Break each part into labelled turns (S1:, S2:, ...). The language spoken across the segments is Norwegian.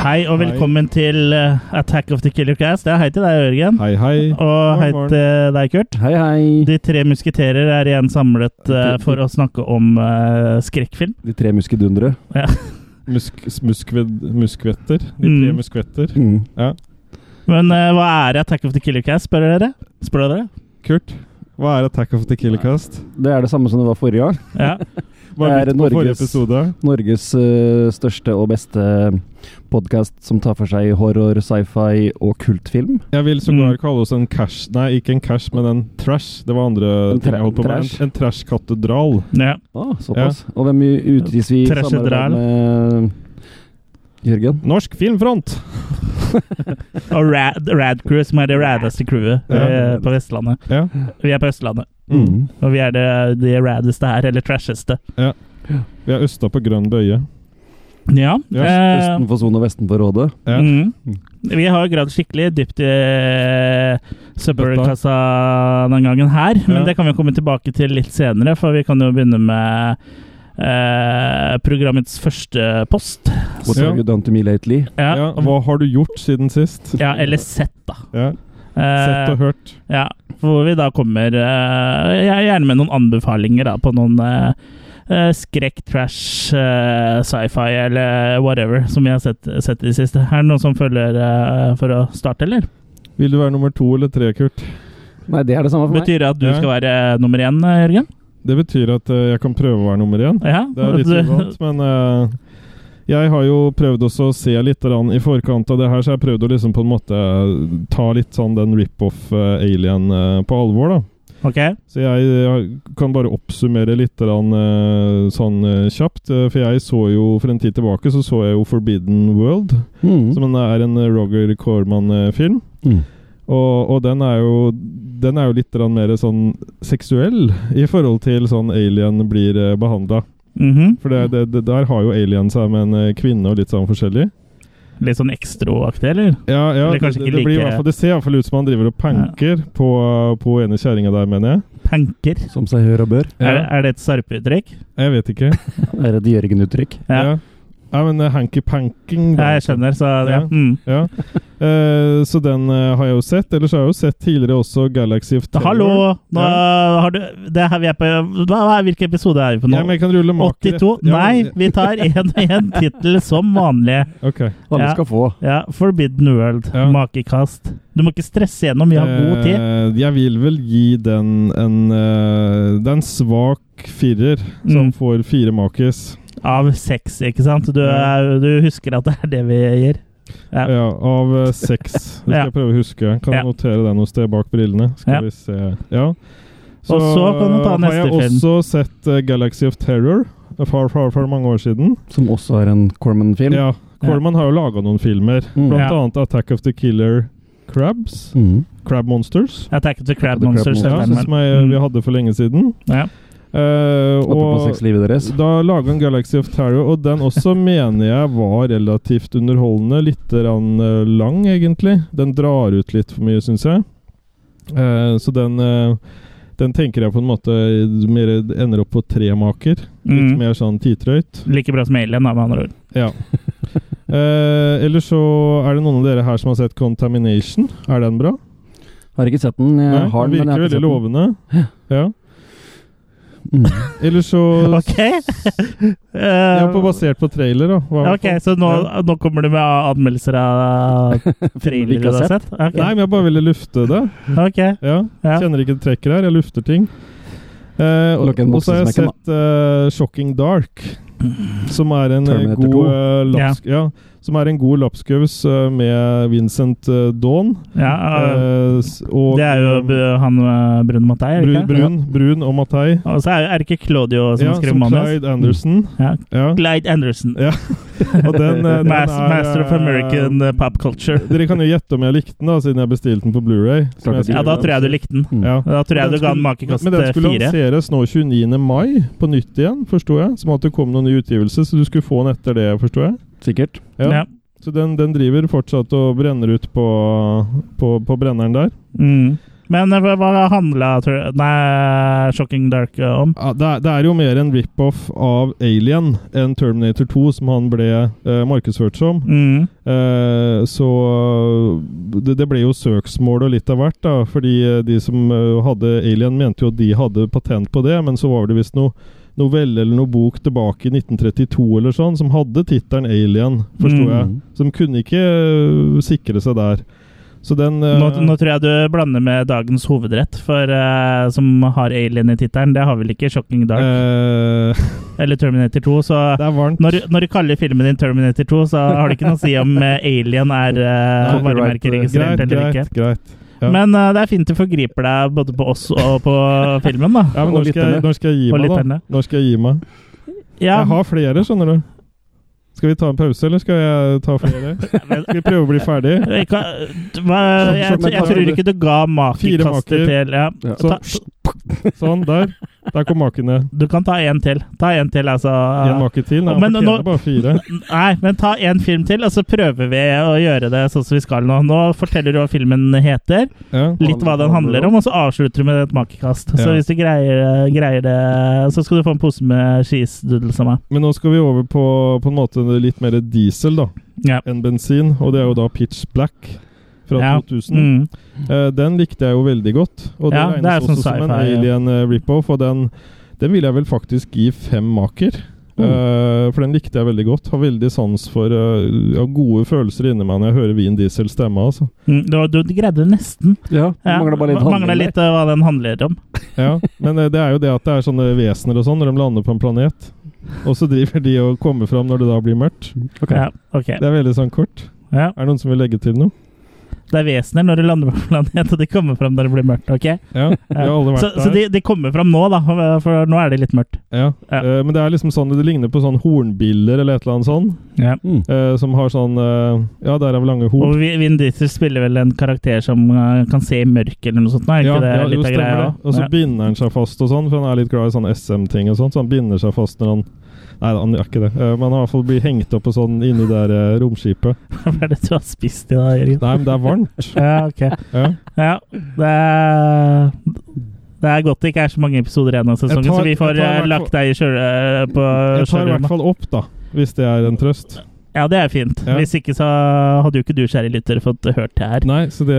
S1: Hei og
S2: Hei.
S1: velkommen til eh, Attack of the Killer Cast. Ja, hei til deg, Jørgen.
S2: Hei, hei.
S1: Og hei
S2: Morgen, morgen.
S1: til deg, Kurt.
S3: Hei, hei.
S1: De tre musketerer er igjen samlet eh, for å snakke om eh, skrekkfilm.
S3: De tre muskedundere.
S2: Musk, muskved, muskvetter. De tre
S1: Mm.
S2: muskvetter.
S3: Mm.
S2: Ja.
S1: Men eh, hva er Attack of the Killer Cast, spør dere? Spør dere?
S2: Kurt, hva er Attack of the Killer Cast?
S3: Det er det samme som det var forrige gang.
S1: Ja.
S2: Hva
S3: Det er
S2: er på forrige
S3: Norges-
S2: episode?
S3: Norges eh, største og beste podkast som tar for seg horror, sci-fi og kultfilm.
S2: Jeg vil sågar
S1: Mm.
S2: kalle oss en cash... Nei, ikke en cash, men en trash. Det var andre
S3: En
S2: ting
S3: tra-
S2: jeg holdt på med.
S3: trash?
S2: En, en trash-katedral.
S1: ja.
S3: Ah, såpass. Og hvem utgis vi i
S1: Trashet
S3: samarbeid
S1: dræl.
S3: med Jørgen?
S2: Norsk Filmfront!
S1: Og Rad, Rad Crew, som er det raddeste crewet eh,
S2: Ja.
S1: på Vestlandet.
S2: Ja.
S1: Vi er på Østlandet,
S2: Mm.
S1: og vi er det, de raddeste her, eller trasheste.
S2: Vi er østa på grønn bøye.
S1: Ja.
S2: Ja,
S1: eh,
S3: Østen for sone og vesten for rådet.
S2: Ja.
S1: Mm.
S3: Mm.
S1: Vi har gravd skikkelig dypt i eh, søppelkassa den gangen her, men
S2: Ja.
S1: det kan vi komme tilbake til litt senere, for vi kan jo begynne med eh, programmets første post.
S3: What
S2: Ja.
S3: have you done to me lately?
S1: Ja,
S2: Ja. Hva har du gjort siden sist?
S1: ja eller sett, da.
S2: Ja.
S1: Eh,
S2: Sett og hørt.
S1: ja, hvor vi da kommer eh, jeg er gjerne med noen anbefalinger da, på noen eh, eh, skrekk, trash, eh, sci-fi eller whatever som vi har sett, sett i det siste. Er det noen som følger eh, for å starte, eller?
S2: Vil du være nummer to eller tre, Kurt?
S3: Nei, det er det samme for meg.
S1: Betyr det at du
S2: Ja.
S1: skal være nummer én, eh, Jørgen?
S2: Det betyr at eh, jeg kan prøve å være nummer én.
S1: Ja.
S2: Det er litt
S1: Du-
S2: uvant, men eh, jeg har jo prøvd også å se litt grann i forkant av det her, så jeg har prøvd å liksom på en måte ta litt sånn den rip-off eh, alien eh, på alvor, da.
S1: Ok.
S2: Så jeg, jeg kan bare oppsummere litt grann, eh, sånn eh, kjapt. eh, For jeg så jo for en tid tilbake så så jeg jo Forbidden World,
S3: Mm.
S2: som en- er en eh, Roger Corman-film.
S3: Mm.
S2: Og, og den er jo Den er jo litt grann mer sånn seksuell i forhold til sånn alien blir eh, behandla.
S1: Mhm.
S2: For det, det, det, der har jo alien seg med en eh, kvinne og litt sånn forskjellig.
S1: Litt sånn ekstroaktig, eller?
S2: Ja, ja,
S1: Eller
S2: det,
S1: kanskje
S2: det,
S1: ikke
S2: blir i
S1: like-
S2: hvert fall, det ser i hvert fall ut som han driver og panker på, på ene kjerringa der, mener jeg.
S1: Panker.
S3: Som seg hør og bør.
S1: Er,
S2: Ja,
S1: er det et sarpeuttrykk?
S2: jeg vet ikke.
S3: Er det et Jørgen-uttrykk?
S1: Ja.
S2: Ja. Nei, men eh, hanky panking
S1: ja, jeg skjønner, så ja.
S2: Ja.
S1: Mm.
S2: Ja. Eh, så den eh, har jeg jo sett. Ellers har jeg jo sett tidligere også Galaxy of Terror.
S1: Hallo! Nå har du det her vi er på hva, hva, Hvilken episode er vi på nå?
S2: Ja, men jeg kan rulle maker.
S1: 82?
S2: Ja,
S1: Nei,
S2: men-
S1: vi tar én og én tittel som vanlig.
S2: Ok.
S3: Alle
S1: Ja.
S3: skal få.
S1: Ja, Forbidden World,
S2: Ja.
S1: makekast. Du må ikke stresse gjennom, vi har god tid.
S2: Eh, jeg vil vel gi den en eh, Det er en svak firer som
S1: Mm.
S2: får fire makis.
S1: Av seks, ikke sant? Du, er, du husker at det er det vi gir? Ja.
S2: Ja. av eh, seks. Det skal
S1: Ja.
S2: jeg prøve å huske. Kan
S1: Ja.
S2: notere det noe sted bak brillene. Skal
S1: Ja.
S2: vi se. Ja.
S1: Og så kan du ta
S2: eh, har jeg
S1: neste film.
S2: også sett eh, Galaxy of Terror for, for, for mange år siden.
S3: Som også er en Corman-film.
S2: Ja, Corman har jo laga noen filmer.
S3: Mm.
S1: Ja.
S2: Blant annet Attack of the Killer Crabs.
S3: Mm.
S2: Crab Monsters.
S1: Attack of the Crab
S3: Attack of the Crab
S1: Monsters.
S3: Monsters.
S2: Ja,
S1: heter den vel.
S2: som jeg, vi
S1: Mm.
S2: hadde for lenge siden.
S1: Ja.
S2: Eh,
S3: Apropos
S2: og
S3: sexlivet deres.
S2: da laga han Galaxy of Terror, og den også mener jeg var relativt underholdende. Litt rann, eh, lang, egentlig. Den drar ut litt for mye, syns jeg. Eh, så den, eh, den tenker jeg på en måte eh, mer ender opp på tre maker. Litt
S1: Mm.
S2: mer sånn titrøyt.
S1: Like bra som Alien, da, med andre ord.
S2: Ja. Eh, eller så er det noen av dere her som har sett Contamination. Er den bra?
S3: Har ikke sett den. Jeg
S2: Nei,
S3: har
S2: den
S3: den, men jeg
S2: virker
S3: har ikke
S2: veldig
S3: sett den.
S2: lovende. Ja.
S3: Mm.
S2: Eller så
S1: Ok! Eh,
S2: ja, på Basert på trailer, da. Hva-
S1: ok, Så nå, nå kommer du med anmeldelser av
S3: vi
S1: trailere
S3: ikke
S1: du
S3: har
S1: har sett? Ok.
S2: Nei, men jeg bare ville lufte det.
S1: ok.
S2: Ja.
S1: Ja.
S2: Kjenner ikke trekket her. Jeg lufter ting. Eh, og,
S3: Lukk en
S2: og
S3: bokse
S2: så har jeg
S3: som jeg kan-
S2: sett eh, Shocking Dark, som er en eh,
S3: Terminator
S2: god
S3: 2.
S2: eh, laps, ja. som er en god lapskaus eh, med Vincent eh, Dawn.
S1: Ja, eh,
S2: eh, s- og
S1: det er jo bu- han eh, Brun Mattei, er det
S2: Bru-
S1: ikke?
S2: Brun, Brun og Mattei.
S1: Og så er, er det ikke Claudio som
S2: Ja,
S1: skriver
S2: som
S1: manus?
S2: Clyde Anderson.
S1: Ja.
S2: Ja.
S1: Clyde Anderson.
S2: Ja, Og den, eh, den
S1: Mas
S2: er,
S1: Master of
S2: eh,
S1: American eh, Pop Culture.
S2: Dere kan jo gjette om jeg likte den, da, siden jeg bestilte den på Blu-ray. som
S1: Ja,
S2: jeg
S3: Klart du
S2: skriver
S1: da
S2: den.
S1: tror jeg du likte den.
S3: Mm.
S2: Ja.
S1: Da tror jeg
S2: Men
S1: du
S2: den
S1: ga den
S2: skulle-
S1: makekast
S2: Men den skulle
S1: fire.
S2: lanseres nå 29. mai, på nytt igjen, forsto jeg. Som at det kom noen ny utgivelse, så du skulle få den etter det, forsto jeg.
S3: Sikkert.
S2: Ja.
S1: Ja.
S2: Så den, den driver fortsatt og brenner ut på, på, på brenneren der.
S1: Mm. Men eh, hva handla tror du- Nei, Shocking Dark eh, om?
S2: Ja, det, er, det er jo mer en rip-off av Alien enn Terminator 2, som han ble eh, markedsført som.
S1: Mm.
S2: Eh, så eh, det, det ble jo søksmål og litt av hvert, da. Fordi eh, de som eh, hadde Alien, mente jo at de hadde patent på det, men så var det visst noe novelle eller noe bok tilbake i 1932 eller sånn, som hadde tittelen Alien, forsto
S1: Mm.
S2: jeg. Så de kunne ikke eh, sikre seg der. Så den eh,
S1: Nå, nå tror jeg du blander med dagens hovedrett, for eh, som har Alien i tittelen. Det har vel ikke Shocking Dark
S2: eh,
S1: eller Terminator 2, så
S2: Det er varmt.
S1: når, når du kaller filmen din Terminator 2, så har det ikke noe å si om eh, Alien er uh,
S3: Copyright,
S1: varemerkeregistrert
S2: eh, greit,
S1: eller ikke.
S2: greit, greit. ja.
S1: Men eh, det er fint du forgriper deg både på oss og på filmen, da.
S2: Ja, men
S3: Og
S2: når skal, jeg,
S3: lytterne.
S2: når skal jeg gi
S1: Og
S2: meg, da?
S1: lytterne.
S2: Når skal jeg gi meg?
S1: Ja,
S2: Jeg har flere, skjønner du. Skal vi ta en pause, eller skal jeg ta flere?
S1: men-
S2: Skal vi prøve å bli ferdig?
S1: jeg, kan- hva- jeg, jeg, jeg tror ikke du ga
S2: Fire
S1: makekastet
S2: maker.
S1: til ja.
S3: Ja.
S2: Så,
S1: Ta,
S2: sånn, der. Der kom makene.
S1: Du kan ta én til. Ta én til, altså.
S2: Én make til. Nei,
S1: Men
S2: han fortjener
S1: nå-
S2: bare fire.
S1: Nei, men ta én film til, og så prøver vi å gjøre det sånn som vi skal nå. Nå forteller du hva filmen heter,
S2: Ja.
S1: litt hva den handler om, og så avslutter du med et makekast. Så
S2: Ja.
S1: hvis du greier, greier det, så skal du få en pose med cheese-doodles av meg.
S2: Men nå skal vi over på, på en måte litt mer diesel da,
S1: Ja.
S2: enn bensin, og det er jo da Pitch Black fra
S1: Ja.
S2: 2000.
S1: Mm.
S2: Eh, den likte jeg jo veldig godt, og det
S1: Ja, det er
S2: regnes
S1: sånn
S2: også som en
S1: sci-fi, ja.
S2: alien eh, rip-off, og den, den vil jeg vel faktisk gi fem maker.
S1: Mm.
S2: Eh, for den likte jeg veldig godt. Har veldig sans for eh, ja, gode følelser inni meg når jeg hører Vin Diesel stemme. Altså.
S1: Mm. Du, du, du greide det nesten.
S3: Ja, det
S1: Ja.
S3: mangler bare litt
S1: Mangler
S3: handling.
S1: litt eh, hva den handler om.
S2: Ja, men eh, det er jo det at det er sånne vesener og sånn når de lander på en planet. Og så driver de og kommer fram når det da blir mørkt.
S3: der. Ok.
S1: Ja, ok.
S2: Det er veldig sånn kort.
S1: Ja.
S2: Er det noen som vil legge til noe?
S1: Det er vesener når de lander på planet, og de kommer fram når det blir mørkt. ok?
S2: Ja, vi har alle vært
S1: Så, så
S2: der.
S1: de, de kommer fram nå, da, for nå er det litt mørkt.
S2: Ja.
S1: Ja.
S2: Eh, men det er liksom sånn, det ligner på sånn hornbiller eller et eller annet sånn.
S1: Ja.
S3: Mm.
S2: Eh, som har sånn eh, Ja, der er vel lange horn.
S1: Og Vi- Vin Diesel spiller vel en karakter som eh, kan se i mørket eller noe sånt? nå, Er ikke
S2: ja,
S1: det
S2: ja, jo,
S1: litt av
S2: stemmer
S1: greia?
S2: det. Og så
S1: Ja.
S2: binder han seg fast og sånn, for han er litt glad i sånn SM-ting og sånt, så han binder seg fast når han Nei, han gjør ikke det, Eh, men han har i hvert fall blir hengt opp og sånn inni det der eh, romskipet.
S1: Hva er det du har spist i dag, Jørgen?
S2: Nei, men det er varmt.
S1: Ja, ok.
S2: Ja.
S1: Ja, det er, det er godt det ikke er så mange episoder igjen av sesongen,
S2: Jeg tar-
S1: så vi får
S2: jeg tar i
S1: eh,
S2: hvert
S1: lagt deg i kjøle, på
S2: Jeg tar i hvert
S1: kjølerommet.
S2: fall opp, da, hvis det er en trøst.
S1: Ja, det er fint.
S2: Ja.
S1: Hvis ikke så hadde jo ikke du, kjære lytter, fått hørt det her.
S2: Nei, så det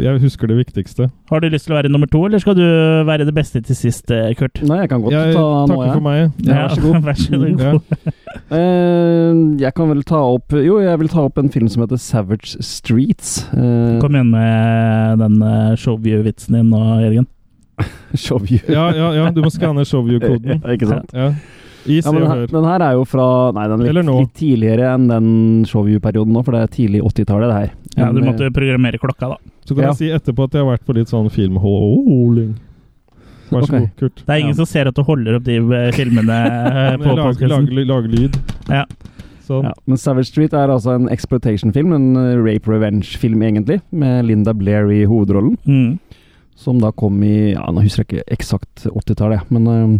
S2: Jeg husker det viktigste.
S1: Har du lyst til å være nummer to, eller skal du være det beste til sist, eh, Kurt?
S3: Nei, jeg kan godt
S2: Jeg
S3: ta nå,
S2: takker
S3: jeg.
S2: for meg.
S3: Ja, vær så god.
S1: vær så god.
S2: Ja.
S3: Eh, jeg kan vel ta opp Jo, jeg vil ta opp en film som heter Savage Streets. Eh,
S1: Kom igjen med den eh, showview-vitsen din nå, Jørgen.
S3: show you.
S2: Ja, ja, ja, du må skanne showview-koden.
S3: Eh, Ikke sant?
S2: Ja. I
S3: Ja,
S2: Se
S3: men
S2: og
S3: den, her,
S2: Hør.
S3: den her er jo fra Nei, den er
S2: Eller
S3: litt,
S2: nå.
S3: litt tidligere enn den showview-perioden nå, for det er tidlig 80-tallet, det her.
S1: Ja, du
S3: Men, eh,
S1: måtte jo programmere klokka, da.
S2: Så kan
S3: Ja.
S2: jeg si etterpå at jeg har vært på litt sånn filmholing. Vær så
S3: Ok.
S2: god, Kurt.
S1: Det er ingen
S3: Ja.
S1: som ser at du holder opp de eh, filmene eh, på
S2: Lag,
S1: podkasten.
S2: lag, lag lyd.
S1: Ja.
S2: Sånn.
S3: Ja, men Savage Street er altså en exploitation-film, en eh, rape revenge-film egentlig, med Linda Blair i hovedrollen,
S1: Mm.
S3: som da kom i ja, Nå husker jeg ikke eksakt 80-tallet, jeg, men eh,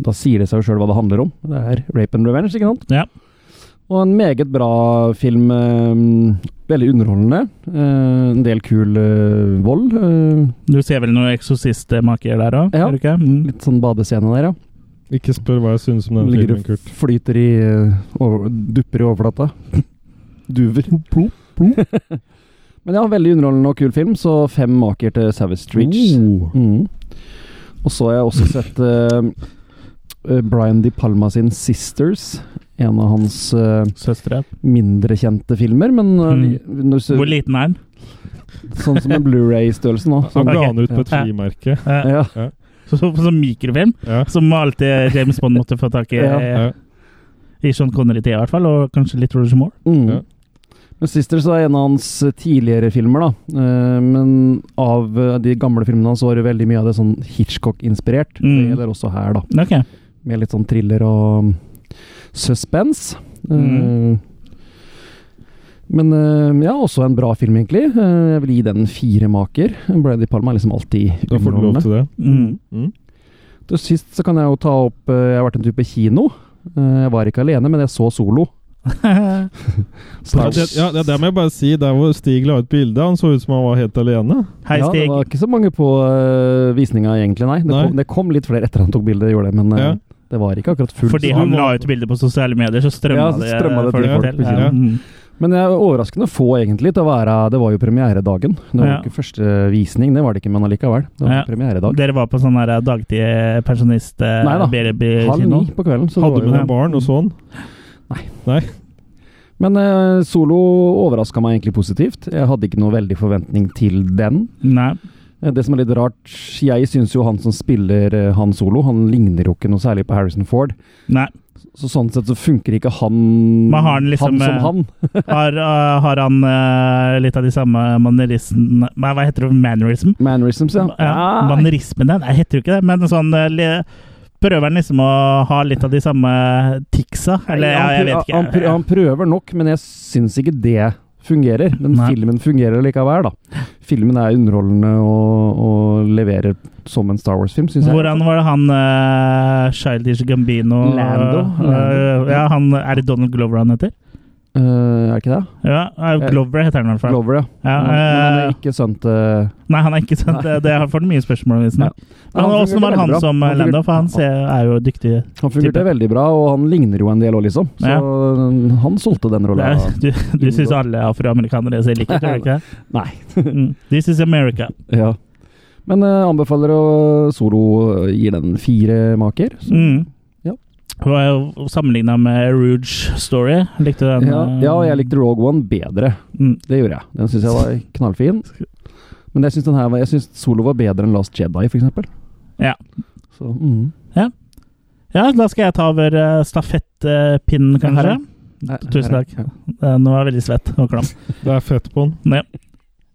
S3: da sier det seg jo sjøl hva det handler om. Det er rape and revenge, ikke sant?
S1: Ja.
S3: Og en meget bra film. eh, veldig underholdende. eh, en del kul eh, vold. eh,
S1: Du ser vel noen eksorsistmaker der òg?
S3: Ja.
S1: du ikke? Mm.
S3: litt sånn badescene der, ja.
S2: Ikke spør hva jeg syns om den
S3: Ligger
S2: filmen,
S3: og
S2: Kurt.
S3: flyter i eh, over, Dupper i overflata. Duver. Men ja, veldig underholdende og kul film, så fem maker til Savage Streets.
S2: Oh.
S3: Mm. Og så har jeg også sett eh, eh, Brian De Palma sin Sisters. En av hans eh,
S1: Søstre.
S3: mindre kjente filmer, men eh, når du-
S1: Hvor liten er den?
S3: sånn som en Blu-ray-størrelse nå.
S2: Han
S3: Sånn,
S1: Ok.
S2: ga den Oh. ut på et
S1: Ja.
S2: frimerke.
S1: Eh,
S3: ja.
S1: så, så, som mikrofilm,
S2: Ja.
S1: som alltid James Bond måtte få tak i.
S3: Ja.
S1: eh,
S2: Ja.
S1: I Sean Connery-tida, i hvert fall. Og kanskje litt Roger Moore.
S3: Mm.
S2: Ja.
S3: Men Sisters er en av hans eh, tidligere filmer, da. Eh, men av eh, de gamle filmene hans var det veldig mye av det sånn Hitchcock-inspirert. Det
S1: Mm.
S3: gjelder også her, da.
S1: Ok.
S3: Med litt sånn thriller og mm, suspense. Eh,
S1: Mm.
S3: Men eh, ja, også en bra film, egentlig. Eh, jeg vil gi den fire maker. Brady Palma er liksom alltid
S2: Da får du lov
S3: underholdende.
S2: til det.
S1: Mm.
S2: Mm.
S3: Til sist så kan jeg jo ta opp eh, Jeg har vært en tur på kino. Eh, jeg var ikke alene, men jeg så Solo.
S2: Ja, det, ja, det, det må jeg bare si. Der hvor Stig la ut bilde, han så ut som han var helt alene.
S1: Hei,
S3: Ja, det
S1: Stig.
S3: var ikke så mange på øh, visninga egentlig, nei. Det,
S2: Nei.
S3: Kom, det kom litt flere etter han tok bildet, gjorde det, men øh,
S2: Ja.
S3: det var ikke akkurat fullt.
S1: Fordi
S3: så-
S1: han la ut bilder på sosiale medier, så strømma
S3: Ja, så strømma
S1: det eh,
S3: det
S1: folk
S2: til folk
S1: til.
S2: på
S1: Ja.
S2: kino.
S1: Mm.
S3: Men det er overraskende få, egentlig, til å være Det var jo premieredagen. Det var jo
S1: Ja.
S3: ikke første visning, det var det ikke, men allikevel. Det var
S1: Ja.
S3: premieredag.
S1: Dere var på sånn her dagtid pensjonist eh,
S3: Nei da. Halv
S1: babykino?
S3: ni på kvelden. Så det
S2: Hadde
S3: var
S2: med
S3: jo,
S2: noen barn og sånn.
S3: men øh, solo overraska meg egentlig positivt. Jeg hadde ikke noe veldig forventning til den.
S1: Nei.
S3: Eh, Det som er litt rart Jeg syns jo han som spiller eh, han solo, han ligner jo ikke noe særlig på Harrison Ford.
S1: Nei.
S3: Så sånn sett så funker ikke han
S1: Men har han liksom,
S3: han
S1: eh,
S3: som han.
S1: Har, eh, har han eh, litt av de samme manerismene Nei, hva heter det? Mannerism?
S3: Mannerisms, ja.
S1: Ja,
S3: Nei.
S1: manerismene? Nei, heter det ikke det, men sånn eh, le- Prøver han liksom å ha litt av de samme ticsa? Eller ja,
S3: han,
S1: jeg
S3: prø-
S1: vet ikke.
S3: Han, prø- han prøver nok, men jeg syns ikke det fungerer. Men
S1: Nei.
S3: filmen fungerer likevel, da. Filmen er underholdende og, og leverer som en Star Wars-film, syns jeg.
S1: Hvordan var det han eh, Childish Gambino
S3: Lando?
S1: eh,
S3: Lando.
S1: ja, han, Er det Donald Glover han heter?
S3: Eh, er det ikke det?
S1: Ja, eh,
S3: Eh,
S1: Glover heter han i hvert fall.
S3: Glover, ja. Mm.
S1: Ja,
S3: Men han
S1: eh,
S3: er ikke sønn til
S1: Nei, han er ikke sant.
S3: Nei.
S1: Det, det får mye spørsmål. Liksom.
S3: Ja. Nei,
S1: Men
S3: han
S1: åssen var
S3: fungerte
S1: det han
S3: veldig bra.
S1: som eh,
S3: Han
S1: Lando?
S3: fungerte-
S1: For han ser, er jo dyktig.
S3: Han fungerte
S1: type.
S3: veldig bra, og han ligner jo en del òg, liksom. Så han solgte den
S1: Det
S3: rolla.
S1: er, du du syns alle afroamerikanere ser like ut, gjør du ikke? det?
S3: Nei.
S1: Mm. This is America.
S3: Ja. Men eh, anbefaler å solo eh, gir den fire maker. Så
S1: Mm.
S3: Ja.
S1: Sammenligna med Rouge Story. Likte du den?
S3: Ja, ja, og jeg likte Rogue One bedre.
S1: Mm.
S3: Det gjorde jeg. Den syns jeg var knallfin. Men jeg syns den her var- jeg synes Solo var bedre enn Last Jedi, f.eks.
S1: Ja.
S3: Så, mm.
S1: ja, da skal jeg ta over eh, stafettpinnen, kanskje.
S3: Nei,
S1: Tusen
S3: her-
S1: takk. Eh, Nå er jeg veldig svett og klam.
S2: Det er fett på den.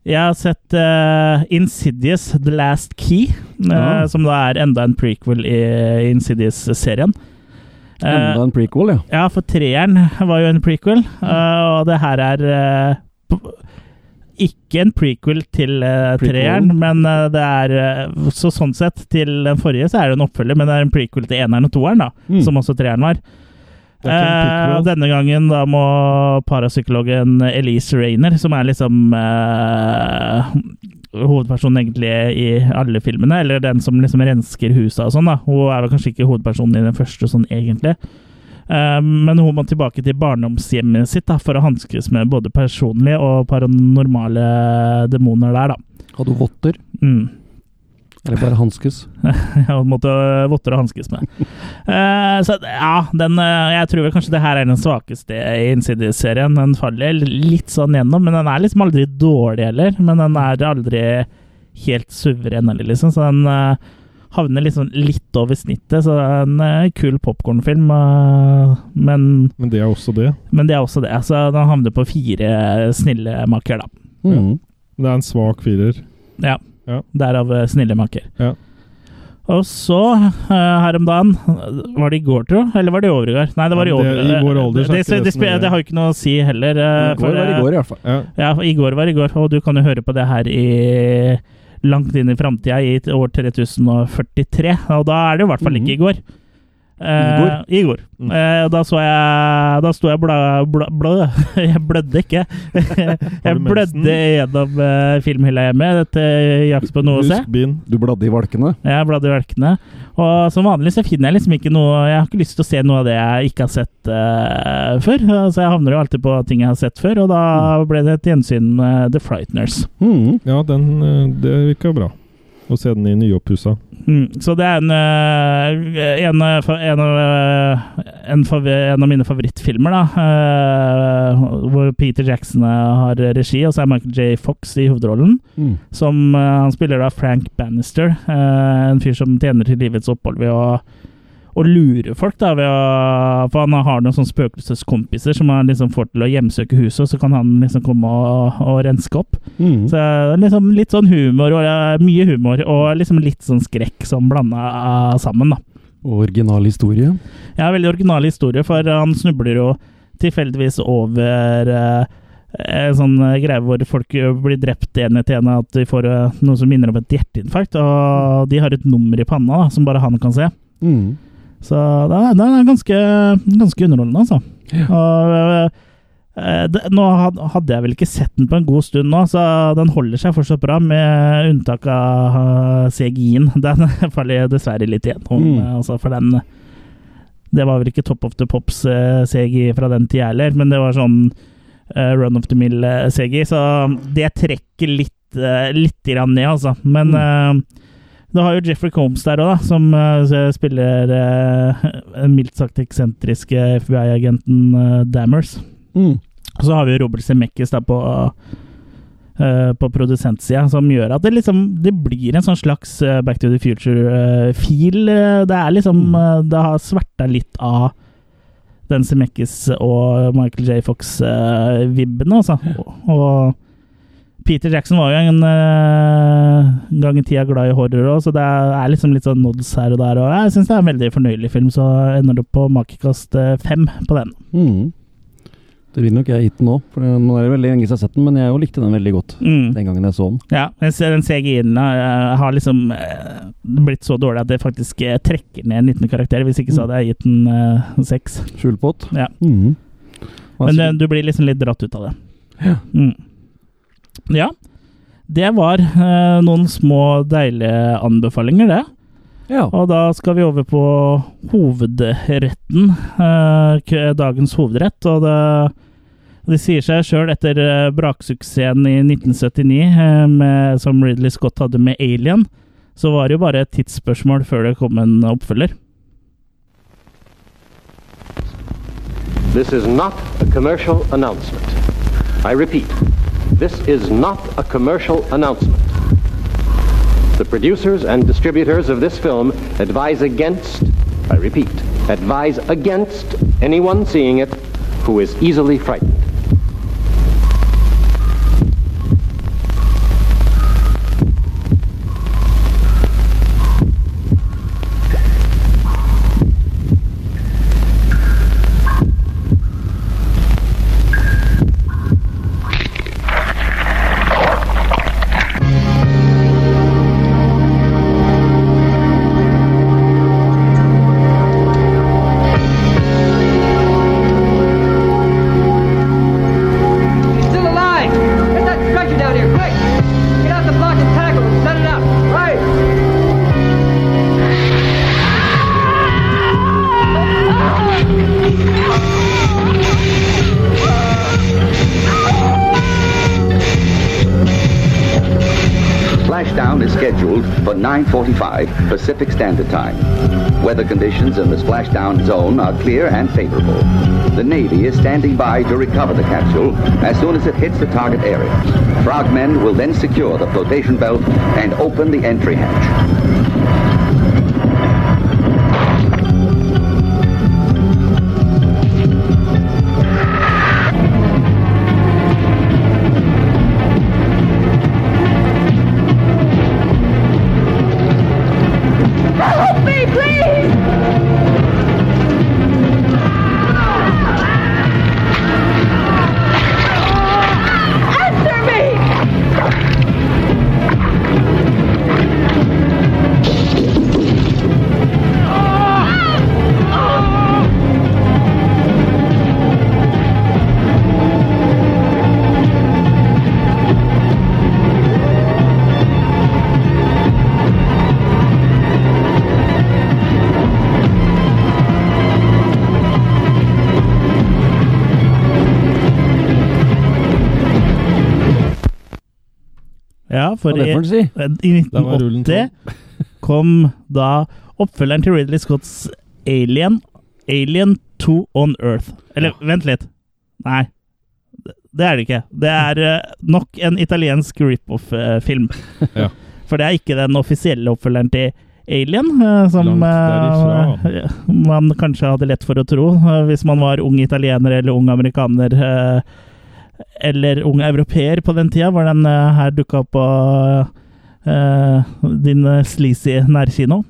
S1: Jeg har sett eh, Insidious The Last Key, eh,
S3: Ja.
S1: som da er enda en prequel i Insidious-serien. Eh,
S3: Enda en prequel, ja.
S1: Ja, for treeren var jo en prequel, eh, og det her er eh, p- ikke en prequel til eh,
S3: Prequel.
S1: treeren, men eh, det er eh, Så sånn sett, til den forrige så er det en oppfølger, men det er en prequel til eneren og toeren, da,
S3: Mm.
S1: som også treeren var.
S2: Det er ikke en
S1: Eh,
S2: prequel.
S1: denne gangen da må parapsykologen Elise Rayner, som er liksom eh, hovedpersonen egentlig i alle filmene, eller den som liksom rensker huset og sånn, da. Hun er vel kanskje ikke hovedpersonen i den første sånn egentlig. Eh, men hun må tilbake til barndomshjemmet sitt da, for å hanskes med både personlige og paranormale demoner der, da.
S3: Hadde hun votter?
S1: Mm.
S3: Eller bare hanskes?
S1: Ja, og måtte votter og hanskes med. Eh, så ja, den, eh, jeg tror vel kanskje det her er den svakeste i Insidious-serien. Den faller litt sånn gjennom, men den er liksom aldri dårlig heller. Men den er aldri helt suveren heller, liksom. Så den eh, havner liksom litt over snittet. Så det er en eh, kul popkornfilm, eh, men,
S2: Men det er også det.
S1: men det er også det. Så den havner på fire snille makker, da.
S3: Mm.
S2: Men det er en svak firer.
S1: Ja.
S2: Ja.
S1: Derav eh, snille makker.
S2: Ja.
S1: Og så, eh, her om dagen Var det i går, tro? Eller var det i overgår? Nei, det var i
S2: Ja, det-
S1: overgår.
S2: i vår alder så er
S1: det,
S2: ikke det
S1: det, det,
S2: så nøye.
S1: spe- det har jo ikke noe å si heller. eh,
S3: I går var i
S1: eh,
S3: går, i hvert fall.
S2: Ja.
S1: Ja, i går var i går, og du kan jo høre på det her i langt inn i framtida, i t- år 3043. Og da er det jo i hvert fall ikke i går. Eh,
S3: Igor?
S1: I går.
S2: Mm.
S1: Eh, da så jeg Da sto jeg bla, bla, bla. Jeg blødde ikke. jeg
S2: mensen?
S1: blødde gjennom eh, filmhylla hjemme etter jakt på noe å se.
S2: Huskbin.
S3: Du bladde i valkene?
S1: Jeg bladde i velkene. Og som vanlig så finner jeg liksom ikke noe Jeg har ikke lyst til å se noe av det jeg ikke har sett eh, før. Så jeg havner jo alltid på ting jeg har sett før, og da ble det et gjensyn med The Frighteners.
S3: Mm.
S2: Ja, den, eh, det virka bra. Å se den i nyoppussa.
S1: Mm. Så det er en, eh, en, eh, fa- en, av, eh, en, fav- en av mine favorittfilmer, da. eh, hvor Peter Jackson eh, har regi, og så er Michael J. Fox i hovedrollen.
S3: Mm.
S1: Som eh, Han spiller da Frank Bannister, eh, en fyr som tjener til livets opphold ved å å lure folk, da, ved å, for han har noen sånne spøkelseskompiser som han liksom får til å hjemsøke huset, og så kan han liksom komme og, og renske opp.
S3: Mm.
S1: Så eh, liksom litt sånn humor, og eh, mye humor, og liksom litt sånn skrekk som blanda eh, sammen, da.
S3: Original historie.
S1: Jeg har veldig original historie, for han snubler jo tilfeldigvis over eh, en sånn eh, greie hvor folk jo blir drept en etter en, at de får eh, noe som minner om et hjerteinfarkt, og de har et nummer i panna da, som bare han kan se.
S3: Mm.
S1: Så det er, det er ganske, ganske underholdende, altså. Og, eh, det, nå had- hadde jeg vel ikke sett den på en god stund nå, så den holder seg fortsatt bra, med unntak av eh, CGI-en. Den faller jeg dessverre litt igjennom,
S2: Mm.
S1: eh, altså, for den Det var vel ikke Top of the Pops eh, CGI fra den tida heller, men det var sånn eh, Run of the Mill eh, CGI, så det trekker litt, eh, litt grann ned, altså. Men eh, du har jo Jeffrey Combs der òg, som eh, spiller eh, den mildt sagt eksentriske FBI-agenten eh, Dammers.
S2: Mm.
S1: Og så har vi Robert Zemeckis da på, eh, på produsentsida, som gjør at det liksom det blir en sånn slags eh, Back to the Future-feel. det er liksom eh, Det har sverta litt av den Zemeckis og Michael J. Fox-vibben, altså. Og, og Peter Jackson var jo en eh, gang i tida glad i horror òg, så det er, er liksom litt sånn nods her og der. Og jeg syns det er en veldig fornøyelig film, så ender det opp på makekast eh, fem på den.
S3: Mm. Det vil nok jeg gitt den òg, for det- nå er det veldig lenge siden jeg har sett den, men jeg jo likte den veldig godt
S1: Mm.
S3: den gangen jeg så den.
S1: Ja, jeg ser den CGI-en har har liksom eh, blitt så dårlig at det faktisk eh, trekker ned 19 karakterer. Hvis ikke så hadde jeg gitt den eh, seks.
S3: Skjulpott.
S1: Ja.
S3: Mhm. Hva
S1: Men
S3: sier-
S1: eh, du blir liksom litt dratt ut av det.
S3: Ja.
S1: Mm. ja. Det var eh, noen små deilige anbefalinger, det.
S3: ja.
S1: Og da skal vi over på hovedretten. eh, k- dagens hovedrett. Og det, det sier seg sjøl etter eh, braksuksessen i 1979 eh, med, som Ridley Scott hadde med Alien, så var det jo bare et tidsspørsmål før det kom en oppfølger.
S4: This is not a commercial announcement. I repeat, this is not a commercial announcement. The producers and distributors of this film advise against, I repeat, advise against anyone seeing it who is easily frightened.
S5: Still alive! Get that stretcher down here, quick! Get out the block and tackle him. Set it up. Right!
S6: Splashdown is scheduled for 9.45 Pacific Standard Time. Weather conditions in the splashdown zone are clear and favorable. The Navy is standing by to recover the capsule as soon as it hits the target area. Frogmen will then secure the flotation belt and open the entry hatch.
S1: Ja, for
S3: Hva er det
S1: i,
S3: for en si?
S1: i
S2: Der var rullen
S1: 1980 kom da oppfølgeren til Ridley Scotts Alien, Alien 2 on Earth. Eller, vent litt. Nei. Det er det ikke. Det er eh, nok en italiensk rip-off-film.
S2: Ja.
S1: For det er ikke den offisielle oppfølgeren til Alien, eh, som
S2: Langt derifra.
S1: eh, man kanskje hadde lett for å tro eh, hvis man var ung italiener eller ung amerikaner. eh, eller ung europeer på den tida, hvor den eh, her dukka opp på eh, din eh, sleazy nærkino.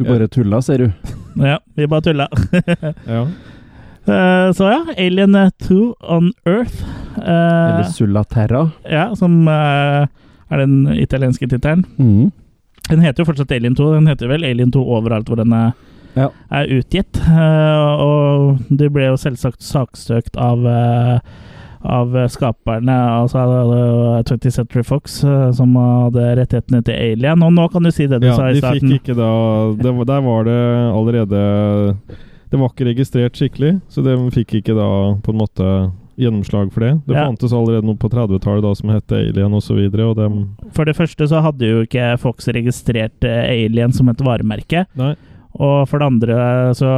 S3: Du bare tulla, ser du.
S1: Ja, vi bare tulla.
S2: Ja.
S1: Eh, så ja, Alien 2 on Earth. eh,
S3: Eller Sulla Terra.
S1: ja, som eh, er den italienske tittelen.
S3: Mhm.
S1: Den heter jo fortsatt Alien 2. Den heter vel Alien 2 overalt hvor den er
S3: Ja.
S1: er utgitt. eh, og de ble jo selvsagt saksøkt av eh, av eh, skaperne, altså eh, 20th Century Fox, eh, som hadde rettighetene til Alien. Og nå kan du si det du
S2: Ja,
S1: sa i
S2: de
S1: starten.
S2: fikk ikke da det, var- Der var det allerede Det var ikke registrert skikkelig, så de fikk ikke da på en måte gjennomslag for det. Det
S1: Ja.
S2: fantes allerede noe på 30-tallet da som het Alien osv., og, så videre, og dem
S1: For det første så hadde jo ikke Fox registrert eh, Alien som et varemerke.
S2: Nei.
S1: Og for det andre så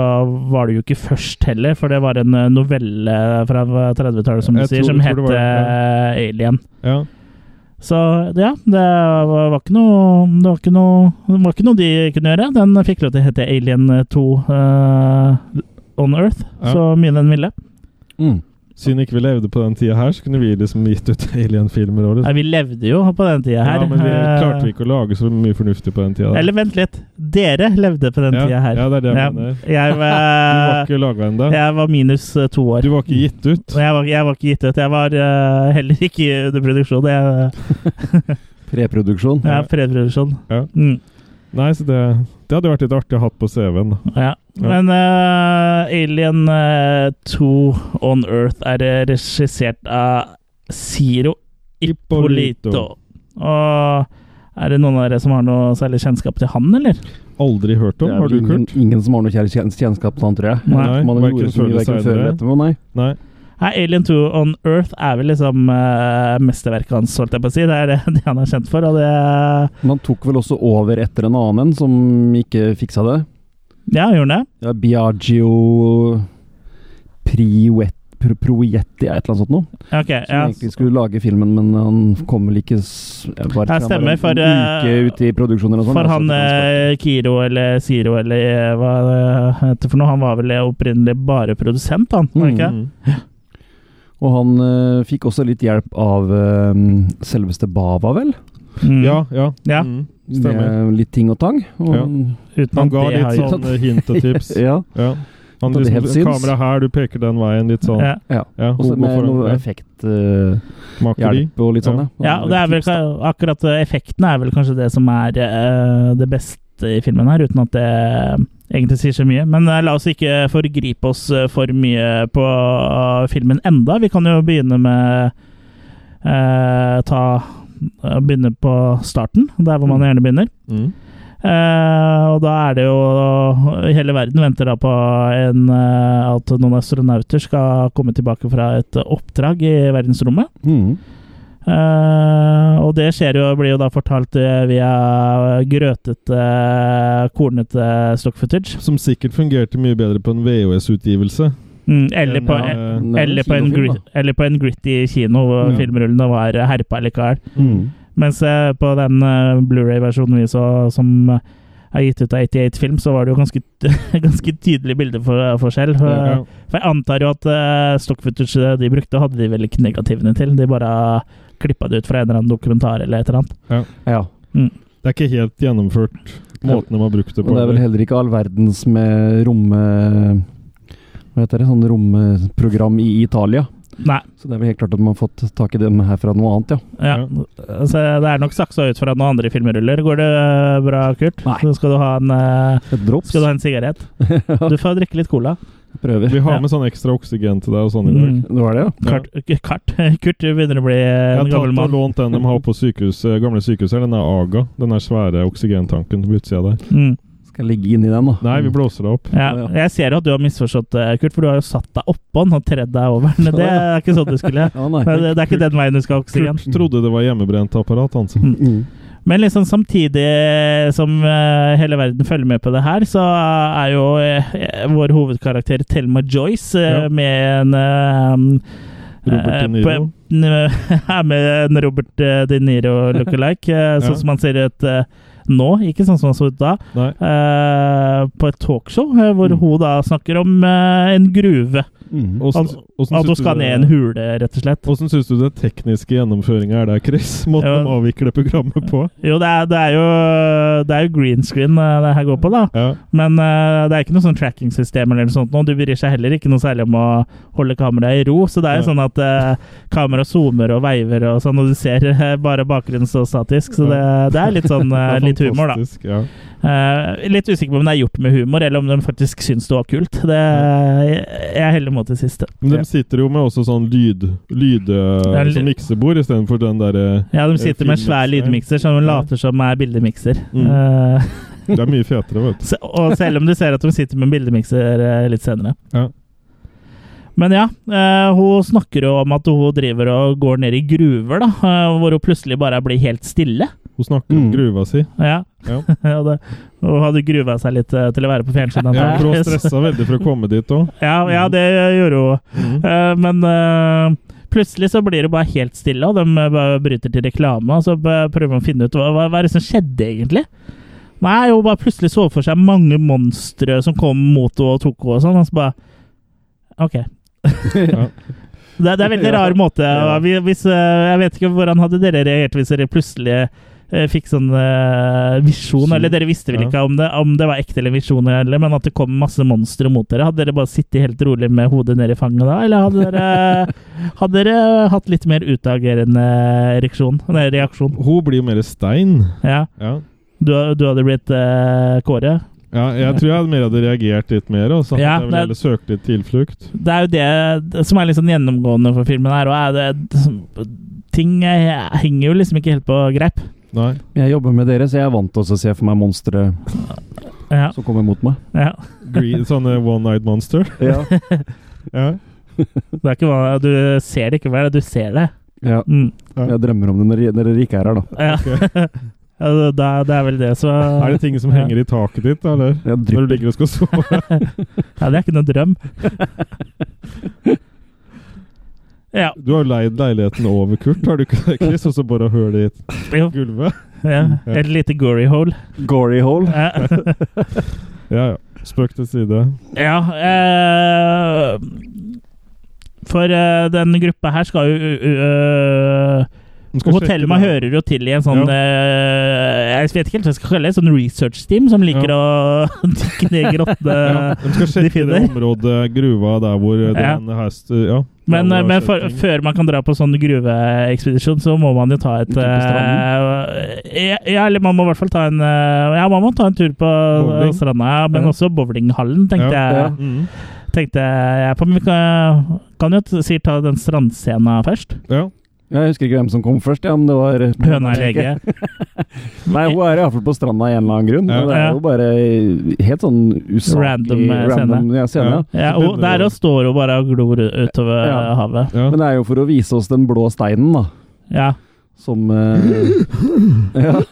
S1: var det jo ikke først heller, for det var en eh, novelle fra 30-tallet som du
S2: Jeg
S1: sier,
S2: tror-
S1: som
S2: tror
S1: het
S2: det var det,
S1: eh, Alien.
S2: Ja.
S1: Så ja, det var, var ikke noe, det var ikke noe Det var ikke noe de kunne gjøre. Den fikk lov til å hete Alien 2 eh, On Earth,
S2: Ja.
S1: så mye den ville.
S3: Mm.
S2: Siden ikke vi levde på den tida her, så kunne vi liksom gitt ut Alien-filmer liksom- òg.
S1: Nei, vi levde jo på den tida her.
S2: Ja, men vi
S1: Eh,
S2: klarte ikke å lage så mye fornuftig på den tida. der.
S1: Eller vent litt. Dere levde på den
S2: ja,
S1: tida her.
S2: Ja, det er det jeg
S1: Ja.
S2: mener.
S1: Jeg
S2: Du var
S1: var,
S2: ikke laga ennå.
S1: jeg var minus eh, to år.
S2: Du var ikke gitt ut.
S1: Og jeg var, jeg var ikke gitt ut. Jeg var eh, heller ikke under produksjon. Jeg,
S3: Preproduksjon.
S1: jeg er preproduksjon.
S2: Ja.
S1: Mm,
S2: Nei, så det, det hadde vært litt artig å ha på CV-en. da.
S1: ja. Men eh, Alien eh, 2 On Earth er eh, regissert av Ciro
S2: Ippolito.
S1: Ippolito. Og er det noen av dere som har noe særlig kjennskap til han, eller?
S2: Aldri hørt
S3: Det
S2: om,
S3: er
S2: har
S3: vel
S2: du,
S3: ingen,
S2: Kurt?
S3: ingen som har noe kjær- kjens- kjennskap til han, tror jeg.
S1: Nei,
S3: Man
S2: verken
S3: gjorde så
S2: før
S3: mye
S2: eller
S3: verken før eller
S2: senere.
S3: etterpå, nei.
S2: Nei.
S1: Nei, Alien 2 On Earth er vel liksom eh, mesterverket hans, holdt jeg på å si. Det er det, det han er kjent for, og det
S3: Men han tok vel også over etter en annen en som ikke fiksa det.
S1: Ja, gjorde han det?
S3: Ja, Biagio Priuet, Pro- Proietti er et eller annet sånt noe.
S1: Ok,
S3: Som
S1: ja.
S3: egentlig skulle lage filmen, men han kom vel ikke s- jeg bare,
S1: Ja,
S3: han var
S1: stemmer, for,
S3: en
S1: eh,
S3: uke ute i produksjoner og sånn.
S1: For
S3: altså,
S1: han
S3: skal-
S1: eh, Kiro eller Siro eller eh, hva det heter for noe, han var vel opprinnelig bare produsent, han? Var det ikke?
S2: Mm.
S3: Og han eh, fikk også litt hjelp av eh, selveste Bava, vel?
S1: Mm.
S2: Ja, ja.
S1: Ja.
S2: Mm. Stemmer.
S3: Med litt ting og tang. Og,
S1: Uten
S2: Han
S1: at
S2: ga
S1: det har
S2: litt
S1: gjort-
S2: sånn hint og tips.
S3: ja.
S2: Ja. Han
S3: At
S2: liksom,
S3: det helt syns.
S2: Kamera her, du peker den veien, litt sånn.
S1: Ja.
S2: Ja,
S3: Og så
S2: hobo
S3: med
S2: foran-
S3: noe
S2: ja,
S3: effekthjelp
S2: Makeri.
S3: og litt sånn, ja.
S1: ja, og det er vel ka- akkurat eh, effekten er vel kanskje det som er eh, det beste i filmen her, uten at det eh, egentlig sier så mye. Men eh, la oss ikke forgripe oss eh, for mye på eh, filmen enda. Vi kan jo begynne med eh, ta eh, Begynne på starten, der hvor man gjerne begynner.
S2: Mm.
S1: Eh, og da er det jo Hele verden venter da på en, eh, at noen astronauter skal komme tilbake fra et oppdrag i verdensrommet.
S3: Mm.
S1: Eh, og det skjer jo, blir jo da fortalt eh, via grøtete, kornete stock footage.
S2: Som sikkert fungerte mye bedre på en VHS-utgivelse.
S1: Mm, eller, på,
S2: Ja,
S1: eh,
S3: det er
S1: eller, på en
S3: kinofilm,
S1: grit, eller på en gritty kino hvor
S2: Ja.
S1: filmrullene var herpa likevel.
S3: da. Mm.
S1: Mens eh, på den eh, Blu-ray-versjonen vi så, som eh, er gitt ut av 88 Film, så var det jo ganske, ganske tydelig bildeforskjell. For,
S2: Ja.
S1: for jeg antar jo at eh, stock footage de brukte, hadde de vel ikke negativene til. De bare klippa det ut fra en eller annen dokumentar eller et eller annet.
S3: Ja.
S2: Det er ikke helt gjennomført, måten de har brukt det
S3: Og
S2: på.
S3: det er vel heller ikke all verdens med romme... Hva heter det? Sånn romprogram i Italia.
S1: Nei.
S3: Så det er vel helt klart at man har fått tak i dem her fra noe annet, ja.
S1: Ja.
S2: Ja.
S1: Så det er nok saksa ut fra noen andre filmruller. Går det eh, bra, Kurt?
S3: Nei.
S1: Så skal du ha en eh,
S3: Et drops.
S1: skal du ha en sigarett? Du får drikke litt cola.
S3: Prøver.
S2: Vi har
S1: Ja.
S2: med sånn ekstra oksygen til deg og sånn i dag.
S1: Mm.
S3: Det var det, ja.
S1: Kart, Kart. Kurt du begynner å bli
S2: Jeg
S1: en gammel
S2: har tatt og
S1: mann.
S2: lånt den de har på sykehus, eh, gamle sykehus her. Den er Aga. Den er svære oksygentanken på utsida der.
S1: Mm.
S3: Skal ligge inni den, da.
S2: Nei, vi blåser det opp.
S1: Ja,
S3: Ja, ja.
S1: jeg ser jo at du har misforstått, eh, Kurt, for du har jo satt deg oppå den og tredd deg over den. Det er ikke sånn du skulle.
S3: Ja, nei.
S1: Men Det, det er ikke den veien du skal ha oksygen.
S2: Kurt trodde det var hjemmebrent apparat, han sa.
S1: Eh,
S3: Mm.
S1: Men liksom samtidig som eh, hele verden følger med på det her, så er jo eh, vår hovedkarakter Thelma Joyce eh,
S2: Ja.
S1: med en eh,
S2: Robert De
S1: eh,
S2: Niro.
S1: på- Er med en Robert eh, De Niro look-alike, eh, sånn
S2: Ja.
S1: som han ser ut eh, nå, ikke sånn som han så ut da.
S2: Nei.
S1: eh, på et talkshow eh, hvor
S3: Mm.
S1: hun da snakker om eh, en gruve.
S3: Mm.
S2: Åssen
S1: Altså,
S2: åssen
S1: At hun
S2: syns du
S1: skal ned i en
S2: det-
S1: hule, rett og slett.
S2: åssen syns du den tekniske gjennomføringa er der, Chris? Måten
S1: Ja.
S2: de avvikler programmet på?
S1: Jo, det er, det er jo Det er jo green screen eh, det her går på, da.
S2: Ja.
S1: Men eh, det er ikke noe sånn tracking-system eller noe sånt. nå. Du bryr seg heller ikke noe særlig om å holde kameraet i ro. Så det er jo
S2: Ja.
S1: sånn at uh, kameraet zoomer og veiver og sånn, og du ser eh, bare bakgrunnen så statisk. Så det, det er litt sånn eh, litt humor, da.
S2: fantastisk, Ja.
S1: Eh, litt usikker på om det er gjort med humor, eller om de faktisk syns det var kult. Det, jeg, jeg er heller mot det siste.
S2: Men de sitter jo med også sånn lyd... lyd eh,
S1: er en li-
S2: som miksebord istedenfor den eh, derre
S1: Ja, de sitter med svær
S2: Filmmikser.
S1: lydmikser som de later som er bildemikser.
S2: Mm.
S1: Eh,
S2: Det er mye fetere, vet du.
S1: Se- Og selv om du ser at hun sitter med en bildemikser eh, litt senere.
S2: Ja.
S1: Men ja, eh, hun snakker jo om at hun driver og går ned i gruver, da. eh, Hvor hun plutselig bare blir helt stille.
S2: Hun snakker om
S3: Mm.
S2: gruva si.
S1: Ja.
S2: Ja.
S1: og det, hun hadde grua seg litt eh, til å være på fjernsynet.
S2: Ja,
S1: antar
S2: for hun
S1: jeg.
S2: stressa veldig for å komme dit òg.
S1: ja, ja, det gjorde hun.
S2: Mm.
S1: Eh, men eh, plutselig så blir det bare helt stille, og de eh, bare bryter til reklame. Og så eh, prøver de å finne ut hva, hva, hva er det som skjedde, egentlig. Nei, hun bare plutselig så for seg mange monstre som kom mot henne og tok henne og sånn. Og så bare OK.
S2: Ja.
S1: Det, det er en veldig
S3: Ja.
S1: rar måte.
S3: Ja.
S1: Vi- Hvis, eh, jeg vet ikke hvordan hadde dere reagert hvis dere plutselig eh, fikk sånn eh, visjon,
S2: Syn.
S1: eller dere visste vel
S2: Ja.
S1: ikke om det, om det var ekte eller visjon, eller, men at det kom masse monstre mot dere. Hadde dere bare sittet helt rolig med hodet ned i fanget da, eller hadde dere, hadde dere hatt litt mer utagerende ereksjon, nei, reaksjon?
S2: Hun blir jo mer stein.
S1: Ja.
S2: Ja.
S1: Du, du hadde blitt eh, Kåre?
S2: ja, jeg tror jeg mer hadde reagert litt mer. Også.
S1: Ja,
S2: jeg
S1: det-
S2: ville heller søkt litt tilflukt.
S1: Det er jo det som er litt sånn gjennomgående for filmen her, og er det, ting eh, henger jo liksom ikke helt på greip.
S2: Nei.
S3: Jeg jobber med dere, så jeg er vant til å se for meg monstre
S1: Ja,
S3: som kommer mot meg.
S1: ja.
S2: Green, sånne one night monster.
S3: Ja.
S2: Ja.
S1: Det er ikke hva Du ser det ikke, hva er det du ser det?
S3: ja.
S1: Mm.
S3: Jeg drømmer om det når når dere ikke er her, da.
S1: Ja. Ja, det- det, er- det er vel det, så
S2: Er det ting som henger i taket ditt, da, eller?
S3: Jeg
S2: Når du
S3: drypper.
S2: ligger og skal sove?
S1: Ja, det er ikke noen drøm. Ja.
S2: Du har jo leid leiligheten over Kurt, har du ikke det, Chris? Og så bare hull i
S1: Jo.
S2: gulvet?
S1: Ja. Et lite gory hole.
S3: Gory hole.
S1: Ja.
S2: Ja, ja. Spøk til side.
S1: Ja eh, For eh, den gruppa her skal jo eh,
S2: Du skal sjekke
S1: Hotellma
S2: det.
S1: hører jo til i en sånn eh, Jeg vet ikke helt hva jeg skal kalle det. Sånn research-team som liker å dykke ned i grottene.
S2: Ja, de skal
S1: de
S2: sjekke det
S1: finner.
S2: området, gruva der hvor eh,
S1: Ja.
S2: den hest Ja.
S1: Men, eh,
S2: der hvor det har
S1: men
S2: skjedd
S1: for,
S2: ting.
S1: før man kan dra på sånn gruveekspedisjon, så må man jo ta et
S3: Ikke på
S1: eh, Ja, eller man må i hvert fall ta en eh, Ja, man må ta en tur på
S2: Bowling.
S1: stranda, ja, men
S2: Ja.
S1: også bowlinghallen, tenkte
S2: Ja,
S1: jeg.
S3: ja.
S2: Mm.
S1: Tenkte jeg på, men vi kan, kan jo t- sikkert ta den strandscena først.
S2: Ja.
S3: Jeg husker ikke hvem som kom først, ja, men det var
S1: Høna er lege.
S3: Nei, hun er iallfall på stranda i en eller annen grunn.
S2: Ja.
S3: og Det
S1: Ja.
S3: er jo bare helt sånn usaklig
S1: Random, eh, scene.
S3: ja, scene.
S2: Ja.
S1: Ja, og der og står hun bare og glor utover
S3: Ja.
S1: havet.
S2: ja.
S3: Men det er jo for å vise oss den blå steinen, da.
S1: Ja.
S3: Som eh, Ja.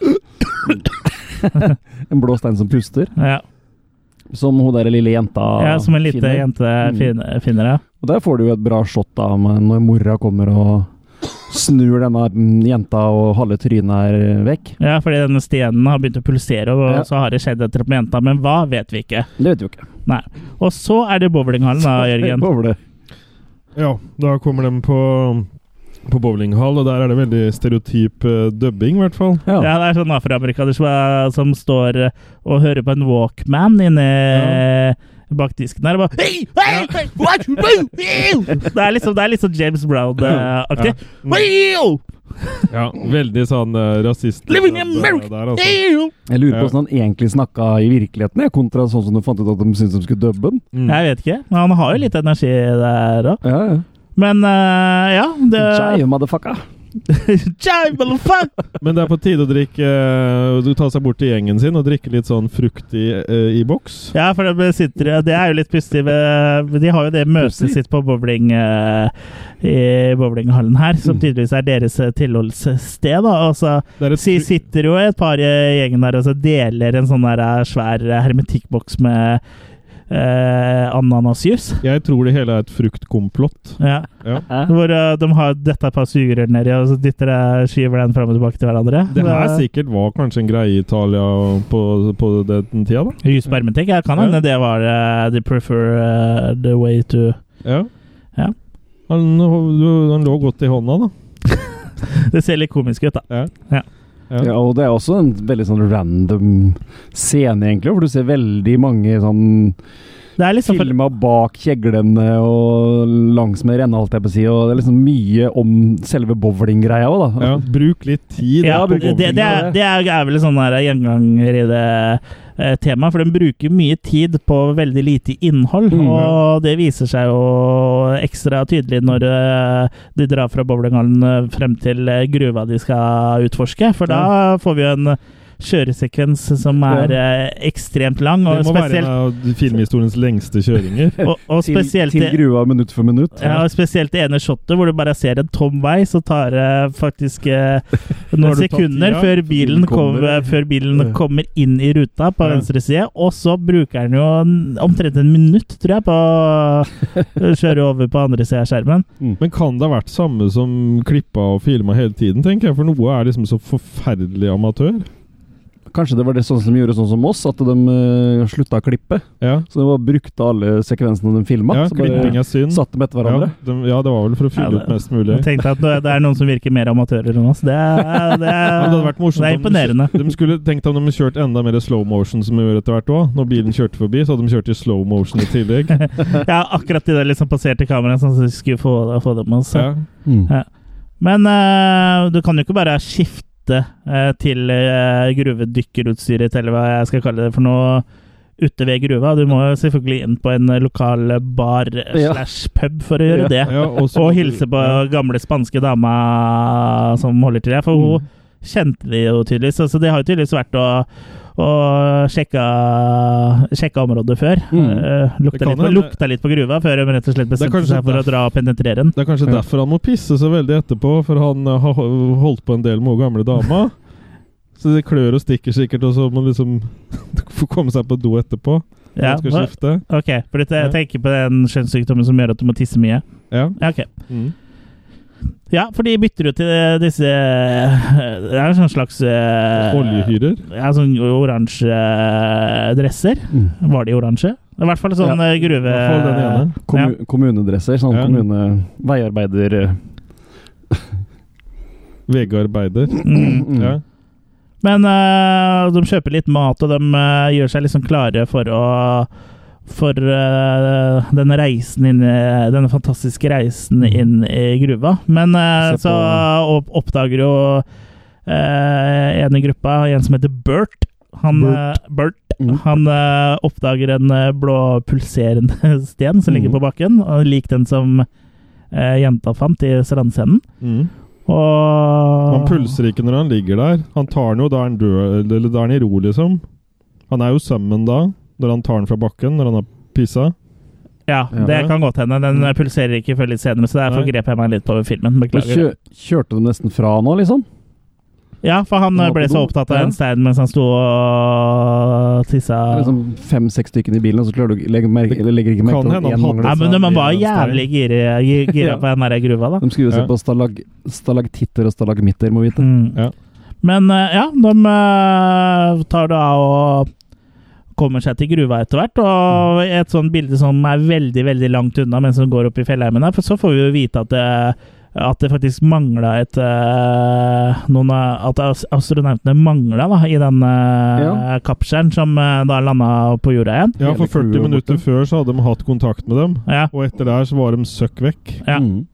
S3: en blå stein som puster.
S1: ja.
S3: Som hun der lille jenta
S1: ja som en liten
S3: finner.
S1: jente
S3: Ah, Mm.
S1: finner, finner det.
S3: Og der får du jo et bra shot da, med når mora kommer og snur denne mm, jenta og halve trynet er vekk.
S1: Ja, fordi denne stenen har begynt å pulsere, og
S3: Ja.
S1: så har det skjedd et eller annet med jenta, men hva vet vi ikke.
S3: Det vet vi jo ikke.
S1: Nei. Og så er det bowlinghallen, da, Jørgen.
S3: Bowler.
S2: Ja, da kommer de på, på bowlinghall, og der er det veldig stereotyp eh, dubbing, i hvert fall.
S3: Ja.
S1: Ja, det er sånn afroamerikaner som, er- som står eh, og hører på en walkman inne bak disken her og bare «Hey, hey, hey, what you do? Ew!» Mm. Det er liksom, det er litt sånn James Brown-aktig. «Ew!
S2: Ja, veldig sånn eh, rasist.
S1: Living in
S2: der-
S1: America!
S2: Der, altså.
S1: Ew!
S3: Jeg lurer på
S2: Ja.
S3: hvordan han egentlig snakka i virkeligheten, jeg, kontra sånn som du fant ut at de syntes de skulle dubbe den.
S2: Mm.
S1: Jeg vet ikke. men Han har jo litt energi der òg.
S3: Ja, ja.
S1: Men eh, ja det,
S3: Jive, motherfucker.
S1: Jive, motherfucker!
S2: Men det er på tide å drikke eh, Du tar seg bort til gjengen sin og drikke litt sånn fruktig eh, i boks.
S1: Ja, for de sitter, det er jo litt pussig. ved- De har jo det møtet
S3: Pussig?
S1: sitt på bowling, eh, i bowlinghallen her, som tydeligvis er deres eh, tilholdssted. da, og så
S2: Mm. Det er et
S1: si- sitter jo et par i gjengen der og så deler en sånn der eh, svær eh, hermetikkboks med eh, ananasjus.
S2: fru- Jeg tror det hele er et fruktkomplott.
S1: Ja.
S2: Ja.
S1: Hvor eh, de har dette et par sugerør nedi, og så dytter jeg skyver den fram og tilbake til hverandre.
S2: Det her sikkert var kanskje en greie i Italia på, på den tida, da.
S1: Jus på hermetikk. Jeg kan
S2: Ja.
S1: hende det var eh, the prefer eh, the way to
S2: Ja.
S1: Ja.
S2: Han, han lå godt i hånda, da.
S1: Det ser litt komisk ut, da.
S2: Ja. Ja.
S3: Ja, og det er også en veldig sånn random scene, egentlig, hvor du ser veldig mange sånn
S1: Det er liksom for,
S3: Filma bak kjeglene og langsmed renna, holdt jeg på å si. Og det er liksom mye om selve bowlinggreia òg,
S2: Ja,
S3: da.
S2: bruk litt tid.
S1: ja,
S2: da, på
S1: det, det,
S2: bowling.
S1: er, det er, er vel en sånn her gjenganger i det eh, temaet, for den bruker mye tid på veldig lite innhold.
S2: Mm,
S3: Mhm.
S1: Og det viser seg jo ekstra tydelig når eh, de drar fra bowlinghallen eh, frem til eh, gruva de skal utforske, for da får vi jo en kjøresekvens som er eh, ekstremt lang, og
S2: Det må være en
S1: spesielt,
S2: av filmhistoriens lengste kjøringer.
S1: og, og
S3: Til,
S1: spesielt
S3: til grua minutt for minutt.
S1: Ja, og spesielt det ene shotet hvor du bare ser en tom vei, så tar det faktisk eh, noen
S2: Har du tatt
S1: sekunder
S2: tida?
S1: før bilen,
S3: Bilen kommer,
S1: kommer, før bilen
S2: Ja.
S1: kommer inn i ruta på
S2: Ja.
S1: venstre side. Og så bruker den jo en- omtrent en minutt, tror jeg, på å kjøre over på andre sida av skjermen.
S2: Men kan det ha vært samme som klippa og filma hele tiden, tenker jeg? For noe er liksom så forferdelig amatør.
S3: Kanskje det var det sånn som gjorde sånn som oss, at de eh, slutta å klippe.
S2: Ja,
S3: Så de bare brukte alle sekvensene de filma.
S2: ja
S3: så bare
S2: klipping er synd.
S3: satte dem etter
S2: Ja,
S3: hverandre.
S2: de, ja, det var vel for å
S1: Ja,
S2: fylle
S1: det-
S2: ut mest mulig.
S1: Jeg tenkte at det er noen som virker mer amatører enn oss. Det, er- det, er-
S2: Ja, men det hadde vært morsomt
S1: det er
S2: om de-
S1: imponerende.
S2: De skulle tenkt om de hadde kjørt enda mer slow motion, som de gjorde etter hvert òg. Når bilen kjørte forbi, så hadde de kjørt i slow motion i tillegg.
S1: Ja, akkurat det der liksom passerte kameraet, sånn at vi skulle få, få altså. det med oss.
S2: Ja.
S3: Mm.
S1: Men eh, du kan jo ikke bare skifte eh, til uh, gruvedykkerutstyret, eller hva jeg skal kalle det for noe, ute ved gruva. Du må jo selvfølgelig inn på en lokal bar
S3: Ja.
S1: slash pub for å gjøre
S3: Ja.
S1: det.
S2: Ja, og så-
S1: Og hilse på gamle spanske dama som holder til der, for
S3: Mm.
S1: hun kjente de jo tydeligvis. Så det har jo tydeligvis vært å og sjekka, sjekka området før.
S3: Mm.
S1: Eh, lukta,
S2: kan
S1: litt på,
S2: hende-
S1: lukta litt på gruva før de rett og slett
S2: er
S1: bestemte
S2: kanskje
S1: seg for å
S2: derf-
S1: dra og penetrere den.
S2: Det er kanskje
S3: Ja.
S2: derfor han må pisse så veldig etterpå, for han eh, har ho- holdt på en del med hun gamle dama. Så det klør og stikker sikkert, og så må han liksom få komme seg på do etterpå. når
S1: Ja,
S2: han skal
S1: hva-
S2: skifte.
S1: Ok, for dette,
S2: Ja.
S1: jeg tenker på den kjønnssykdommen som gjør at du må tisse mye.
S2: Ja.
S1: Ja, ok.
S2: Mm.
S1: Ja, for de bytter jo til eh, disse eh, Det er jo sånn slags eh,
S2: Oljehyrer.
S1: Ja, sånn oransje eh, dresser.
S3: Mm.
S1: Var de oransje? I hvert fall sånn
S3: Ja,
S1: eh, gruve...
S2: I hvert fall den ene.
S3: Kommu Kommunedresser. Sånn
S2: Ja.
S3: kommune... Veiarbeider...
S2: VG-arbeider.
S1: Mm.
S3: Mm.
S2: Ja.
S1: Men eh, de kjøper litt mat, og de eh, gjør seg liksom klare for å for eh, den reisen inn i- Denne fantastiske reisen inn i gruva. Men eh,
S3: Mm. Se
S1: så opp- oppdager jo eh, en i gruppa, en som heter Bert Han,
S3: Bert.
S1: eh, Bert,
S3: Mm.
S1: han eh, oppdager en eh, blå pulserende sten som ligger
S3: Mm.
S1: på bakken, og lik den som eh, jenta fant i strandsenden.
S2: Mm.
S1: Og
S2: Han pulser ikke når han ligger der. Han tar den jo da er han død, eller da er han i ro, liksom. Han er jo sammen da, når han tar den fra bakken, når han har pissa.
S1: Ja,
S3: Ja.
S1: det kan godt hende. Den eh, pulserer ikke før litt senere, så derfor
S2: Nei.
S1: grep jeg meg litt på filmen.
S3: Men
S1: Beklager.
S3: kjø kjørte du nesten fra nå, liksom?
S1: Ja, for han eh,
S3: Han var
S1: ble
S3: på
S1: så
S3: do.
S1: opptatt av
S3: Ja.
S1: en stein mens han sto og tissa.
S3: Liksom Fem-seks stykker i bilen, og så klarer du legger, merke, eller legger ikke merke
S2: Kan
S3: til
S2: hende
S3: at
S2: han
S3: én
S2: hadde-
S1: Nei,
S3: mangler.
S1: men man var
S2: Ja, stein.
S1: jævlig gira, gi- gira
S3: Ja.
S1: på den der gruva, da.
S3: De skriver
S2: Ja.
S3: seg på stalag stalaktitter og stalagmitter, må vite.
S1: Mm.
S2: Ja.
S1: Men eh, ja, de eh, tar da og kommer seg til gruva etter hvert. Og et sånt bilde som er veldig veldig langt unna mens de går opp i fjellheimen her, for så får vi jo vite at det, at det faktisk mangla et eh, noen av, At as- astronautene mangla i den eh,
S3: Ja.
S1: kapselen som eh, da landa på jorda igjen.
S2: Ja, for
S3: Hele crewet
S2: 40 minutter
S3: borte.
S2: før så hadde de hatt kontakt med dem,
S1: Ja.
S2: og etter der så var de søkk vekk.
S1: Ja.
S3: Mm.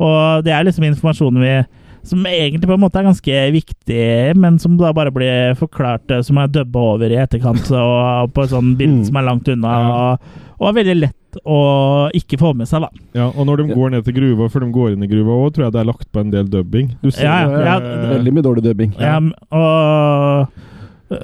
S1: Og det er liksom informasjonen vi som egentlig på en måte er ganske viktig, men som da bare blir forklart, eh, som er dubba over i etterkant og på et sånt bilde
S3: Mm.
S1: som er langt unna.
S2: Ja.
S1: Og, og er veldig lett å ikke få med seg, da.
S2: Ja, og når de
S3: Ja.
S2: går ned til gruva, før de går inn i gruva òg, tror jeg det er lagt på en del dubbing. Du ser
S1: Ja,
S2: jo,
S1: ja,
S2: eh,
S3: Veldig mye dårlig dubbing.
S1: Ja. og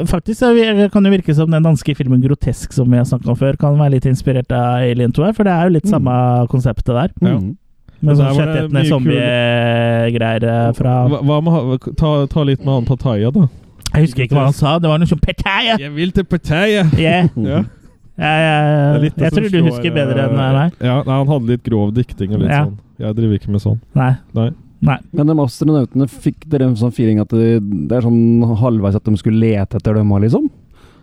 S1: faktisk så vi- kan det virke som den danske filmen 'Grotesk', som vi har snakket om før, kan være litt inspirert av Alien 2 her, for det er jo litt
S3: Mm.
S1: samme konseptet der.
S2: Ja.
S3: Mm.
S1: Med
S2: Men
S1: sånn
S2: der var det
S1: kjøttetende
S2: mye
S1: zombiegreier eh, fra
S2: hva, hva med, ha- ta, ta litt med han Pattaya, da.
S1: Jeg husker ikke hva han sa, det var noe sånn Pertaya!
S2: Jeg vil til Pattaya!
S1: Yeah.
S2: Ja.
S1: Jeg, jeg,
S2: Mm. Det er litt det
S1: jeg
S2: som
S1: tror du
S2: slår,
S1: husker bedre
S2: eh,
S1: enn meg.
S2: Ja, nei, han hadde litt grov dikting og litt
S1: Ja.
S2: sånn. Jeg driver ikke med sånn.
S1: Nei.
S2: Nei.
S3: Men de astronautene, fikk dere en sånn feeling at det, det er sånn halvveis at de skulle lete etter dem, liksom?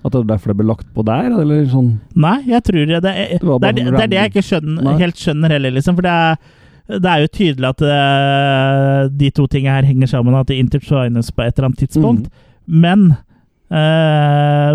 S3: At det er derfor det ble lagt på der, eller sånn?
S1: Nei, jeg tror det det er,
S3: Det var
S1: det,
S3: bare
S1: er,
S3: sånn
S1: det er det jeg
S3: random.
S1: ikke skjønner,
S3: Nei.
S1: helt skjønner heller, liksom. For det er, det er jo tydelig at
S3: Mm.
S1: eh, de to tingene her henger sammen, og at de intertwines på et eller annet tidspunkt. Men Eh,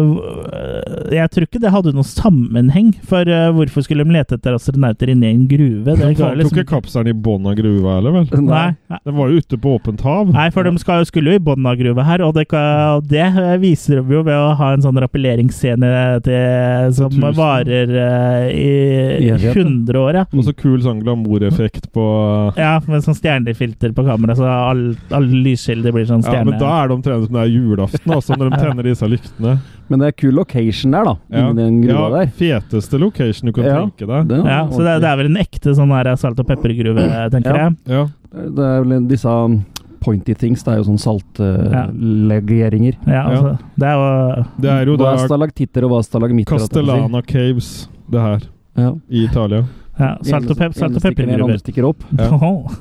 S1: jeg tror ikke det hadde noen sammenheng, for eh, hvorfor skulle de lete etter astronauter inni en gruve?
S2: De
S1: Det
S2: tok
S1: var liksom-
S2: ikke kapseren i bånn av gruva heller, vel?
S1: Nei, nei.
S2: Den var jo ute på åpent hav.
S1: Nei, for de skal, skulle jo i bånn av gruva her, og det, kan- og det viser de jo ved å ha en sånn rappelleringsscene til, som
S2: Tusen.
S1: varer eh, i
S3: I evighet, ja.
S1: 100 år, ja.
S2: Og så kul sånn glamoureffekt på
S1: Ja, med sånn stjernefilter på kamera, så alle all lyskilder blir sånn
S2: Ja,
S1: stjerne.
S2: men da er de omtrent som det er julaften, altså, når de tenner disse lyktene.
S3: Men det er kul location der, da.
S2: Ja.
S3: Inni den gruva
S2: ja,
S3: der.
S2: Feteste location du kan
S3: Ja.
S2: tenke deg.
S3: Den er
S1: ja, så det, er- det er vel en ekte sånn her salt- og peppergruve, tenker
S3: Ja.
S1: jeg.
S2: Ja.
S3: ordentlig. Det er vel disse um, pointy things. Det er jo sånn
S1: Ja.
S3: saltlegeringer.
S1: Ja, altså, Det er jo
S2: Det er jo
S3: Hva er
S2: da
S3: stalaktitter, og hva er stalagmitter? holdt jeg på å si.
S2: Castellana Caves, det her,
S3: Ja.
S2: i Italia.
S1: ja, salt- og, pep, salt og
S3: Ene stikker ned,
S1: peppergruver.
S3: andre stikker opp.
S2: Ja.
S1: Åh.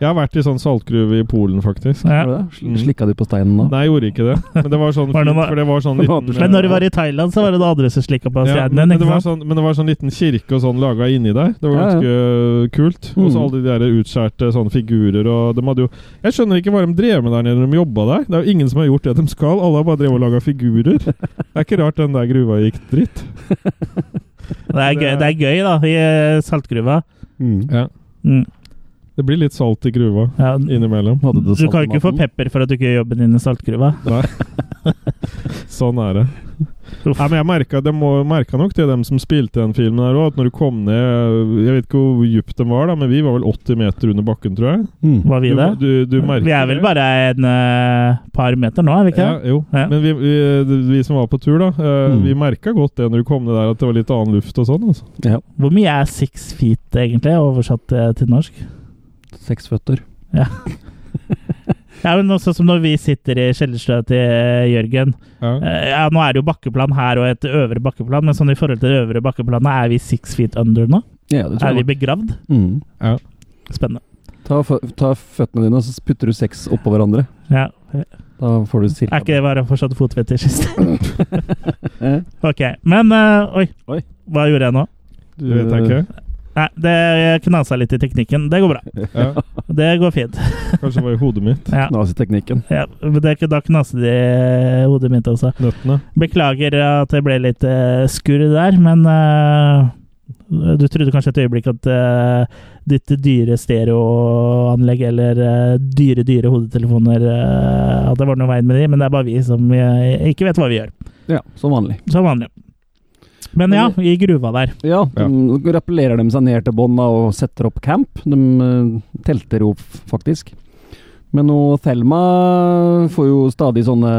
S2: Jeg har vært i sånn saltgruve i Polen, faktisk.
S1: ja.
S3: Er det det?
S2: Mm.
S3: Sl- Slikka de på steinen da?
S2: Nei, jeg gjorde ikke det. Men det var sånn
S1: Var det
S2: fint,
S1: noe-
S2: for det var sånn liten
S1: Men når du var i Thailand, så var det det andre som slikka på
S2: ja,
S1: stjernen
S2: men,
S1: din,
S2: det
S1: ikke
S2: var
S1: sant?
S2: sånn, men det var sånn liten kirke og sånn laga inni der. Det var
S3: Ja, ja.
S2: ganske øh, kult. Og
S3: Mm.
S2: så alle de der utskjærte sånne figurer og de hadde jo Jeg skjønner ikke hva de drev med der nede når de jobba der. Det er jo ingen som har gjort det de skal. Alle har bare drevet og laga figurer. Det er ikke rart den der gruva gikk dritt.
S1: Det er gøy, det er gøy da, i eh, saltgruva.
S2: Ja.
S1: Mm.
S2: Det blir litt salt i gruva
S1: Ja.
S2: innimellom.
S3: Hadde
S1: Du
S3: salt
S1: kan
S3: i
S1: ikke få
S3: maten?
S1: pepper for at du ikke gjør jobben din i saltgruva.
S2: Sånn er det.
S1: Uff.
S2: Nei, men jeg merka, de må, merka nok det, dem som spilte den filmen her òg, at når du kom ned Jeg vet ikke hvor dypt de var, da, men vi var vel 80 meter under bakken, tror jeg.
S3: Mm.
S1: Var vi det?
S2: Du, du, du merker
S1: Vi er
S2: det.
S1: vel bare en eh, par meter nå, er vi ikke?
S2: Ja, jo.
S1: Ja.
S2: Men vi, vi, vi som var på tur, da, eh,
S3: Mm.
S2: vi merka godt det når du kom ned der, at det var litt annen luft og sånn. altså.
S3: Ja.
S1: Hvor mye er six feet, egentlig, oversatt eh, til norsk?
S3: Seks føtter.
S1: Ja, men også som når vi sitter i kjellerstua til eh, Jørgen.
S2: Ja.
S1: Eh, Ja, Nå er det jo bakkeplan her og et øvre bakkeplan, men sånn i forhold til det øvre bakkeplanet, er vi six feet under nå?
S3: Ja, det
S1: Er
S3: tror
S1: vi
S3: jeg.
S1: begravd?
S3: Mm.
S1: Spennende.
S3: Ta, fø- ta føttene dine, og så putter du seks oppå hverandre.
S1: Ja.
S3: Da får du
S1: Er
S3: cirka
S1: ikke det bare fortsatt fotfetisjist?
S3: Eh,
S1: ok. Men eh, oi.
S3: Oi.
S1: Hva gjorde jeg nå?
S2: Du vet jeg ikke.
S1: Nei, det knasa litt i teknikken. Det går bra.
S2: Ja.
S1: Det går fint.
S2: Kanskje det var i hodet mitt.
S1: Ja.
S3: Naziteknikken.
S1: Ja, men det, da knaste det i hodet mitt også.
S2: Nøttene.
S1: Beklager at det ble litt eh, skurr der, men eh, du trodde kanskje et øyeblikk at eh, ditt dyre stereoanlegg eller eh, dyre, dyre hodetelefoner eh, At det var noe veien med de, men det er bare vi som eh, ikke vet hva vi gjør.
S3: Ja, som vanlig.
S1: Som vanlig. Men ja, i gruva der.
S3: Ja,
S2: Ja.
S3: de rappellerer de seg ned til bånn da, og setter opp camp. De eh, telter jo f- faktisk. Men nå Thelma får jo stadig sånne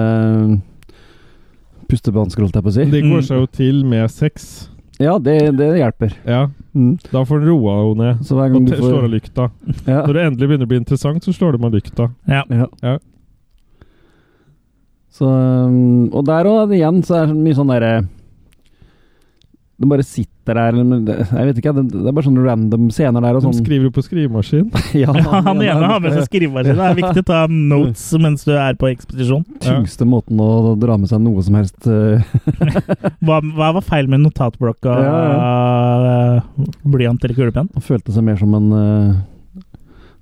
S3: pustebansker, holdt jeg på å si.
S2: De
S1: Mm.
S2: går seg jo til med sex.
S3: Ja, det, det hjelper.
S2: Ja,
S3: Mm.
S2: da får den roa henne ned.
S3: Så hver
S2: Og
S3: gang du
S2: te- slår av
S3: får
S2: lykta.
S3: ja,
S2: Når det endelig begynner å bli interessant, så slår de av lykta.
S3: ja.
S2: Ja.
S3: Så, um, og der òg, igjen, så er det mye sånn derre De bare sitter der men det- Jeg vet ikke, det, det er bare sånne random scener der og
S2: De
S3: sånn.
S2: skriver jo på skrivemaskin.
S3: Ja,
S1: Ja, han ene har med seg skrivemaskin. Det er viktig å ta notes mens du er på ekspedisjon.
S3: tyngste måten å dra med seg noe som helst eh,
S1: Hva, hva var feil med notatblokka og blyant eller kulepenn?
S3: Han følte seg mer som en eh,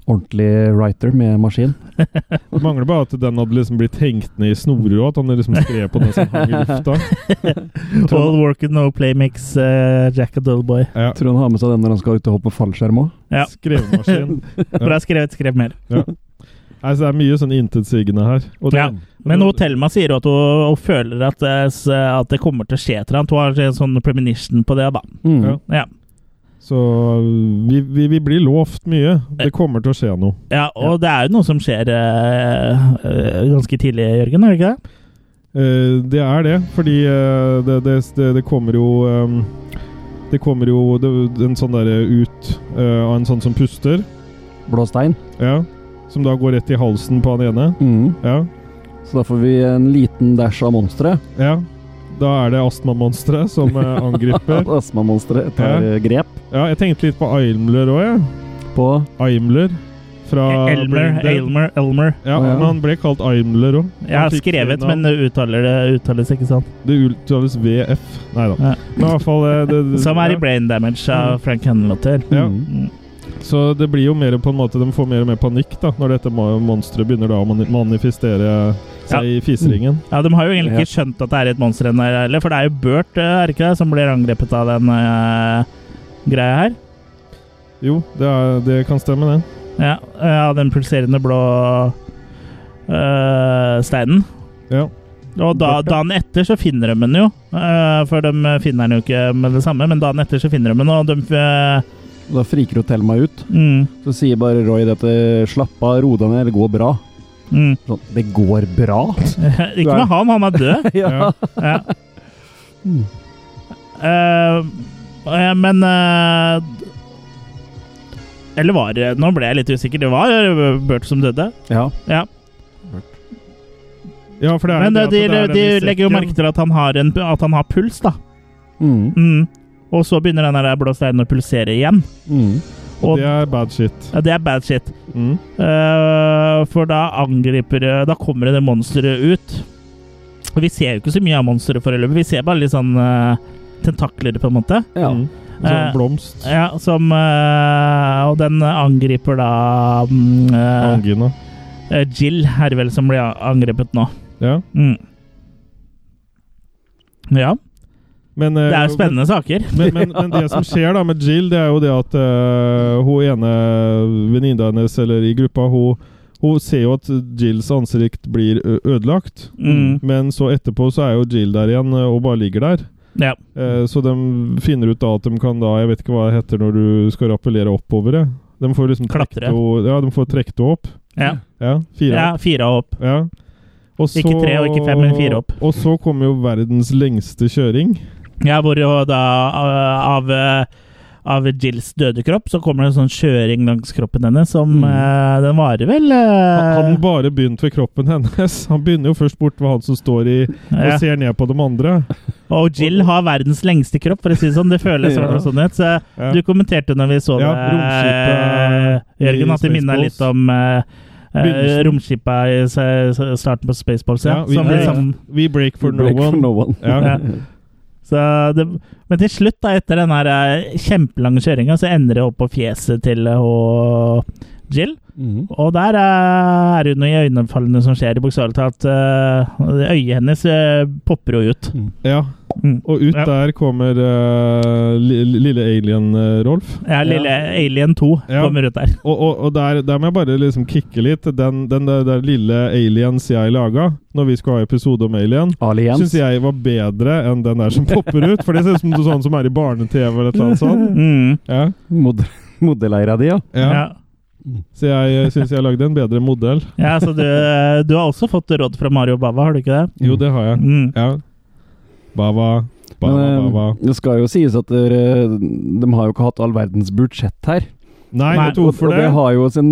S3: ordentlig writer med maskin.
S2: Det mangler bare at den hadde liksom blitt hengt ned i snorer, og at han liksom skrev på den som hang i lufta.
S1: All work and no play makes eh, Jack a dull boy.
S2: Ja.
S3: Tror han har med seg den når han skal ut og hoppe fallskjerm òg.
S1: Ja.
S2: Skrivemaskin.
S1: Bra skrevet, skrev mer.
S2: Nei, så det er mye sånn intetsigende her. Og det,
S1: Ja. Men hun Thelma sier jo at hun, hun føler at, eh, s- at det kommer til å skje et eller annet. Hun har en sånn premonition på det, da.
S3: Mm.
S2: Ja.
S1: Ja,
S2: Så vi, vi, vi blir lovt mye. Det kommer til å skje noe.
S1: ja Og det er jo noe som skjer eh, eh, ganske tidlig, Jørgen, er det ikke det?
S2: Eh, det er det, fordi eh, det, det, det, det kommer jo ehm, Det kommer jo det, en sånn derre ut eh, av en sånn som puster.
S3: Blå stein.
S2: Ja. Som da går rett i halsen på han ene.
S3: Mm.
S2: Ja.
S3: Så da får vi en liten dash av monstre.
S2: ja. Da er det astmamonsteret som eh, angriper.
S3: Astmamonsteret tar
S2: Ja.
S3: eh, grep
S2: Ja, jeg tenkte litt på Aimler òg, jeg.
S3: på
S2: Ja. Aimler fra
S1: Elmer,
S2: Brain Dead.
S1: Elmer, Elmer.
S2: Ja,
S3: Å, ja.
S2: men han ble kalt Aimler òg.
S1: Jeg har skrevet, men det uttaler det uttales ikke sånn.
S2: Det uttales VF. Nei da.
S1: Ja.
S2: Men i hvert fall eh, det, det,
S1: Som er
S2: ja.
S1: i Brain Damage av Frank Henlotter.
S2: Ja.
S3: Mm.
S2: Så det blir jo mer på en måte De får mer og mer panikk da når dette ma- monsteret begynner da å mani- manifestere seg i fiseringen.
S1: Ja, De har jo egentlig ikke skjønt at det er et monster ennå, heller, for det er jo Bert eh, er det ikke det, som blir angrepet av den eh, greia her.
S2: Jo, det, er, det kan stemme, det.
S1: Ja, eh, Av den pulserende blå eh, steinen.
S2: Ja.
S1: Og da,
S2: Bert, ja.
S1: dagen etter så finner de den jo, eh, for de finner den jo ikke med det samme. Men dagen etter så finner de den, og de eh,
S3: Da friker jo Thelma ut.
S1: mm,
S3: Så sier bare Roy dette 'slapp av, ro deg ned, det går bra'.
S1: mm.
S3: Sånn, det går bra?
S1: Ikke med han, han er død.
S2: Ja.
S1: Ja. Eh, eh, men eh, Eller var det Nå ble jeg litt usikker. Det var eh, Bert som døde.
S3: ja.
S1: Ja.
S2: ja, for det er
S1: Men
S2: det
S1: eh,
S2: at
S1: de,
S2: det er
S1: de
S2: den i
S1: legger jo
S2: sekken.
S1: merke til at han har, en, at han har puls, da.
S3: Mm.
S1: Mm. Og så begynner den der blå steinen å pulsere igjen.
S3: Mm.
S2: Og
S1: Og
S2: det er bad shit.
S1: ja, det er bad shit.
S2: Mm.
S1: Eh, for da angriper det- Da kommer det det monsteret ut. Og Vi ser jo ikke så mye av monsteret foreløpig. Vi ser bare litt sånn eh, tentakler, på en måte.
S3: ja.
S2: Mm.
S1: Eh,
S2: Sånn blomst.
S1: Ja, som eh, Og den angriper da mm, eh,
S2: Angina.
S1: eh, Jill, er det vel, som blir angrepet nå.
S2: Ja.
S1: Mm. Ja.
S2: Men, eh,
S1: Det er jo spennende saker.
S2: Men, men, men det som skjer da med Jill, det er jo det at eh, hun ene venninna hennes eller i gruppa, hun, hun ser jo at Jills ansikt blir ø- ødelagt.
S1: Mm.
S2: Men så etterpå så er jo Jill der igjen eh, og bare ligger der.
S1: Ja.
S2: Eh, så de finner ut da at de kan da Jeg vet ikke hva det heter når du skal rappellere oppover det. De får liksom trekt
S1: Klatre.
S2: henne- Ja, de får trekt henne opp.
S1: Ja.
S2: Ja, fire.
S1: ja fire opp.
S2: Ja. Og
S1: Ikke tre og ikke fem, men fire opp.
S2: Og så kommer jo verdens lengste kjøring.
S1: Ja, hvor jo da eh, av eh, av Jills døde kropp så kommer det en sånn kjøring langs kroppen hennes som eh, Den varer vel eh,
S2: Mm. Han han bare begynt ved kroppen hennes. Han begynner jo først bort ved han som står i
S1: Ja.
S2: og ser ned på de andre.
S1: Og Jill har verdens lengste kropp, for å si det sånn. Det føles
S3: Ja.
S1: sånn ut. Så
S2: Ja.
S1: du kommenterte når vi så det,
S2: Ja, romskipet
S1: eh, Jørgen,
S2: i
S1: at det minna
S2: Spaceballs.
S1: litt om eh, eh,
S2: Begynnelsen.
S1: romskipet i s- s- starten på Spaceballs. Ja,
S2: Ja, vi,
S1: som
S2: break,
S1: liksom,
S2: we break for
S3: Break
S2: no
S3: for
S2: one.
S3: no one.
S2: Ja.
S1: ja. Så det, men til slutt, da, etter den her eh, kjempelange kjøringa, så ender det opp på fjeset til eh, og Jill.
S3: Mm.
S1: Og der eh, er det jo noe iøynefallende som skjer, bokstavelig talt. eh, Øyet hennes eh, popper jo ut.
S2: Ja.
S1: Mm.
S2: Og ut
S1: Ja.
S2: der kommer eh, li- lille alien-Rolf.
S1: Ja, lille Alien 2
S2: Ja.
S1: kommer ut der.
S2: og og, og der, der må jeg bare liksom kicke litt. Den, den der, der lille aliens jeg laga når vi skulle ha episode om alien,
S3: Aliens.
S2: syns jeg var bedre enn den der som popper ut. For det ser ut som noe sånn som er i barne-TV eller et eller annet sånt.
S1: Mm.
S2: Ja,
S3: Mod Modelleira di, ja.
S2: ja.
S1: Ja.
S2: Så jeg syns jeg lagde en bedre modell.
S1: ja, så du, eh, du har også fått råd fra Mario Bava, har du ikke det?
S2: Jo, det har jeg.
S1: Mm.
S2: Ja. Bava, bava,
S3: Men eh,
S2: bava.
S3: det skal jo sies at dere, de har jo ikke hatt all verdens budsjett her.
S2: Nei,
S1: Nei,
S2: vet du hvorfor
S3: og, og
S2: det?
S3: det har jo sin,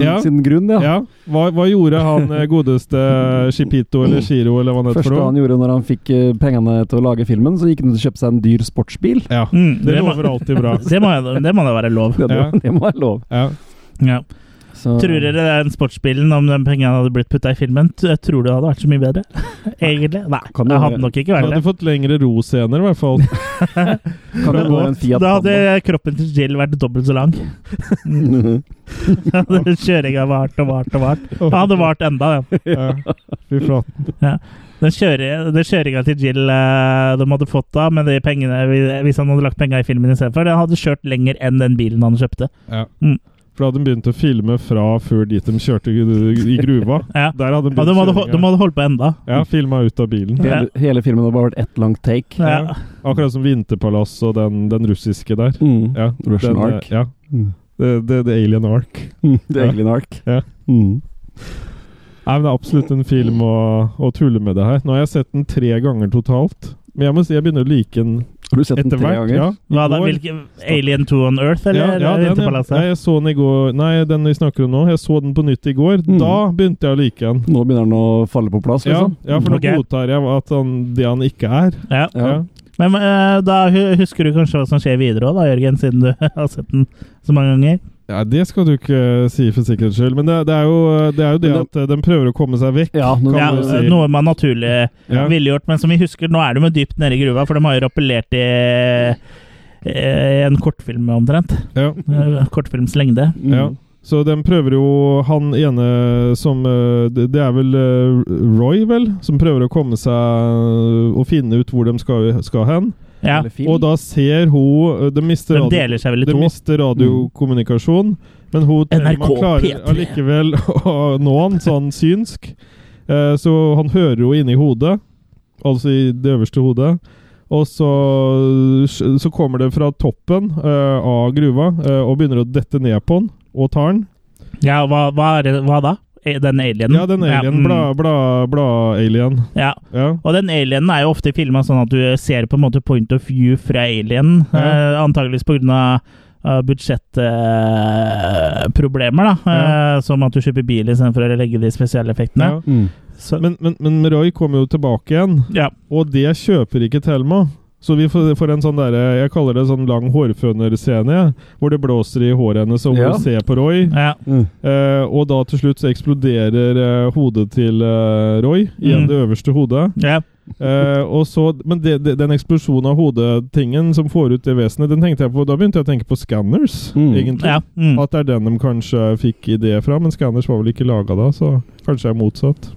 S3: eh,
S2: Ja.
S3: sin grunn, ja.
S2: Ja, hva, hva gjorde han eh, godeste Chipito eller Shiro eller hva han heter
S3: Første
S2: for
S3: han
S2: noe?
S3: gjorde når han fikk eh, pengene til å lage filmen, så gikk han ut og kjøpte seg en dyr sportsbil.
S2: Ja,
S1: Mm,
S2: det
S1: det må-
S2: lover alltid bra.
S1: Det må, det må da være lov.
S3: Det, det,
S2: Ja.
S3: det må være lov.
S2: Ja.
S1: Ja.
S3: Så-
S1: Tror dere den sportsbilen, om den pengene hadde blitt putta i filmen, t- tror du det hadde vært så mye bedre? Egentlig? Nei,
S3: Kan
S1: det
S3: jo
S1: hadde
S3: være.
S1: nok ikke
S2: Han
S1: vært
S2: hadde
S1: det.
S2: fått lengre roscener, i hvert fall.
S3: Kan det være en Fiat
S1: Da hadde kroppen til Jill vært dobbelt så lang.
S3: Panda?
S1: Kjøringa varte og varte og varte. Den hadde vart enda, den.
S2: Ja. Fy flaten.
S1: Den, kjøre- den kjøringa til Jill eh, de hadde fått da, med de pengene, hvis han hadde lagt penga i filmen istedenfor, den hadde kjørt lenger enn den bilen han kjøpte.
S2: Ja.
S1: Mm.
S2: For da hadde de begynt å filme fra før dit de kjørte i gruva.
S1: Ja.
S2: Der
S1: Ja, de
S2: hadde de begynt
S1: hadde, hol- de
S2: kjøringa.
S1: hadde holdt på enda.
S2: Ja, filma ut av bilen.
S1: Ja.
S3: hele, hele filmen har bare vært ett langt take.
S1: Ja.
S2: Akkurat som Vinterpalass og den, den russiske der.
S3: Mm.
S2: Ja,
S3: Russian
S2: den, eh,
S3: Ark.
S2: Ja.
S3: Mm.
S2: Det, det, det Alien Ark.
S3: Det er egentlig en ark.
S2: Ja.
S3: Mm.
S2: Nei, men Det er absolutt en film å, å tulle med det her. Nå har jeg sett den tre ganger totalt. Men jeg må si jeg begynner å like den
S3: Har du sett den
S2: etter
S3: tre
S2: hvert.
S3: ganger?
S2: Ja, i
S1: Hva da,
S2: går.
S1: hvilken Alien 2 on Earth,
S2: ja,
S1: eller
S2: ja, den, ja.
S1: Vinterpalasset?
S2: Nei, jeg så den i går Nei, den vi snakker om nå. Jeg så den på nytt i går.
S3: Mm.
S2: Da begynte jeg å like den.
S3: Nå begynner den å falle på plass,
S2: Ja,
S3: liksom.
S2: ja for nå
S1: Ok.
S2: godtar jeg at han, det han ikke er.
S1: Ja.
S3: Ja.
S2: Ja.
S1: Men eh, da hu- husker du kanskje hva som skjer videre òg, da, Jørgen, siden du har sett den så mange ganger?
S2: ja, Det skal du ikke eh, si for sikkerhets skyld. Men det, det, er, jo, det er jo det
S3: Men
S2: at eh, de prøver å komme seg vekk.
S3: Mm. Ja, nå,
S1: Ja,
S2: du si.
S1: Noe man naturlig
S2: Ja.
S1: ville gjort, men som vi husker, nå er de jo dypt nede i gruva, for de har jo rappellert i eh, en kortfilm, omtrent.
S2: Ja.
S1: Eh, Kortfilms lengde.
S2: Ja.
S3: Mm.
S2: Så de prøver jo han ene som eh, Det det er vel eh, Roy, vel? Som prøver å komme seg og finne ut hvor de skal, skal hen.
S1: Ja.
S3: Eller film.
S2: Og da ser hun eh, De mister,
S1: De
S2: radio,
S1: deler seg vel i
S2: de
S1: to. Mm.
S2: mister radiokommunikasjon, men hun
S1: NRK
S2: Thelma klarer
S1: P3.
S2: allikevel å nå han, så han synsk. Eh, Så han hører jo inni hodet, altså i det øverste hodet. Og så, så kommer det fra toppen eh, av gruva eh, og begynner å dette ned på han, og tar han.
S1: Ja, hva, hva, er det, hva da? Eh, Den alienen?
S2: Ja, den alien.
S1: mm,
S2: Bla, bla, bla alien.
S1: ja.
S2: Ja.
S1: Og den alienen er jo ofte filma sånn at du ser på en måte point of view fra alienen.
S2: Ja.
S1: Eh, antageligvis pga. Uh, Budsjettproblemer, da.
S2: Ja.
S1: Eh, som at du kjøper bil istedenfor å legge de spesielle effektene.
S2: Ja.
S3: Mm.
S1: Så,
S2: Men, men, men Roy kommer jo tilbake igjen,
S1: ja.
S2: og det kjøper ikke Thelma. Så vi får, får en sånn derre Jeg kaller det sånn lang hårfønerscene, hvor det blåser i håret hennes, og
S3: Ja.
S2: hun ser på Roy.
S1: Ja.
S3: Mm.
S2: Eh, og da til slutt så eksploderer eh, hodet til eh, Roy. Igjen
S1: Mm.
S2: det øverste hodet.
S1: Ja.
S2: Eh, og så, men det, det, den eksplosjonen av hodetingen som får ut det vesenet, den tenkte jeg på, da begynte jeg å tenke på Scanners,
S3: Mm.
S2: egentlig.
S1: ja. Mm.
S2: At det er den de kanskje fikk idé fra, men Scanners var vel ikke laga da, så kanskje det er motsatt.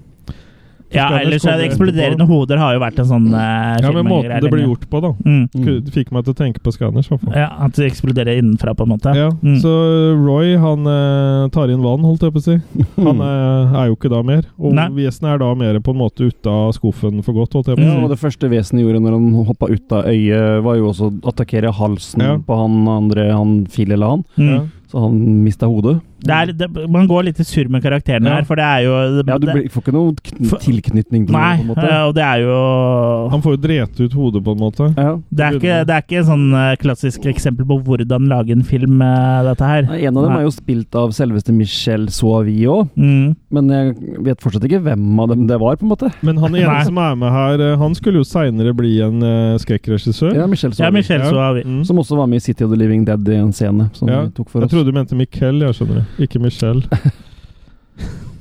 S1: ja
S2: Scanners
S1: ellers er det
S2: kommer
S1: eksploderende hoder har jo vært en sånn uh,
S2: Ja, men måten det ble gjort på, da.
S1: Mm.
S3: Mm.
S2: Fikk meg til å tenke på Scanners, i hvert fall.
S1: Ja, At det eksploderer innenfra, på en måte.
S2: Ja,
S1: Mm.
S2: Så Roy han eh, tar inn vann, holdt jeg på å si. Han eh, er jo ikke da mer. Og
S1: Nei.
S2: vesenet er da mer på en måte ute av skuffen for godt, holdt jeg på
S1: Mm.
S2: å
S3: Ja,
S2: si.
S3: og det første vesenet gjorde når han hoppa ut av øyet, var jo også å attakkere halsen
S2: Ja.
S3: på han andre han Phil eller han.
S1: Mm.
S2: Ja.
S3: Så han mista hodet.
S1: Det er, det, man går litt i surr med karakterene
S2: Ja.
S1: her, for det er jo
S3: Ja, du blir, får ikke noe kn
S1: For-
S3: tilknytning til
S1: Nei,
S3: det, på en måte.
S1: eh, og det er jo
S2: Han får jo drete ut hodet, på en måte.
S3: Ja.
S1: det er, ikke, det er ikke sånn eh, klassisk eksempel på hvordan lage en film, eh, dette her.
S3: Nei, En av dem
S1: Nei.
S3: er jo spilt av selveste Michel Soavi òg,
S1: Mm.
S3: men jeg vet fortsatt ikke hvem av dem det var, på en måte.
S2: Men han ene
S1: Nei.
S2: som er med her, eh, han skulle jo seinere bli en eh, skrekkregissør.
S3: Ja, Michel
S1: Ja,
S3: Soavi.
S1: Michel så har vi
S2: Mm.
S3: Som også var med i City of the Living Dead i en scene som
S2: Ja,
S3: vi tok for
S2: Jeg
S3: oss.
S2: trodde du mente Miquel, jeg skjønner det. Ikke Michelle.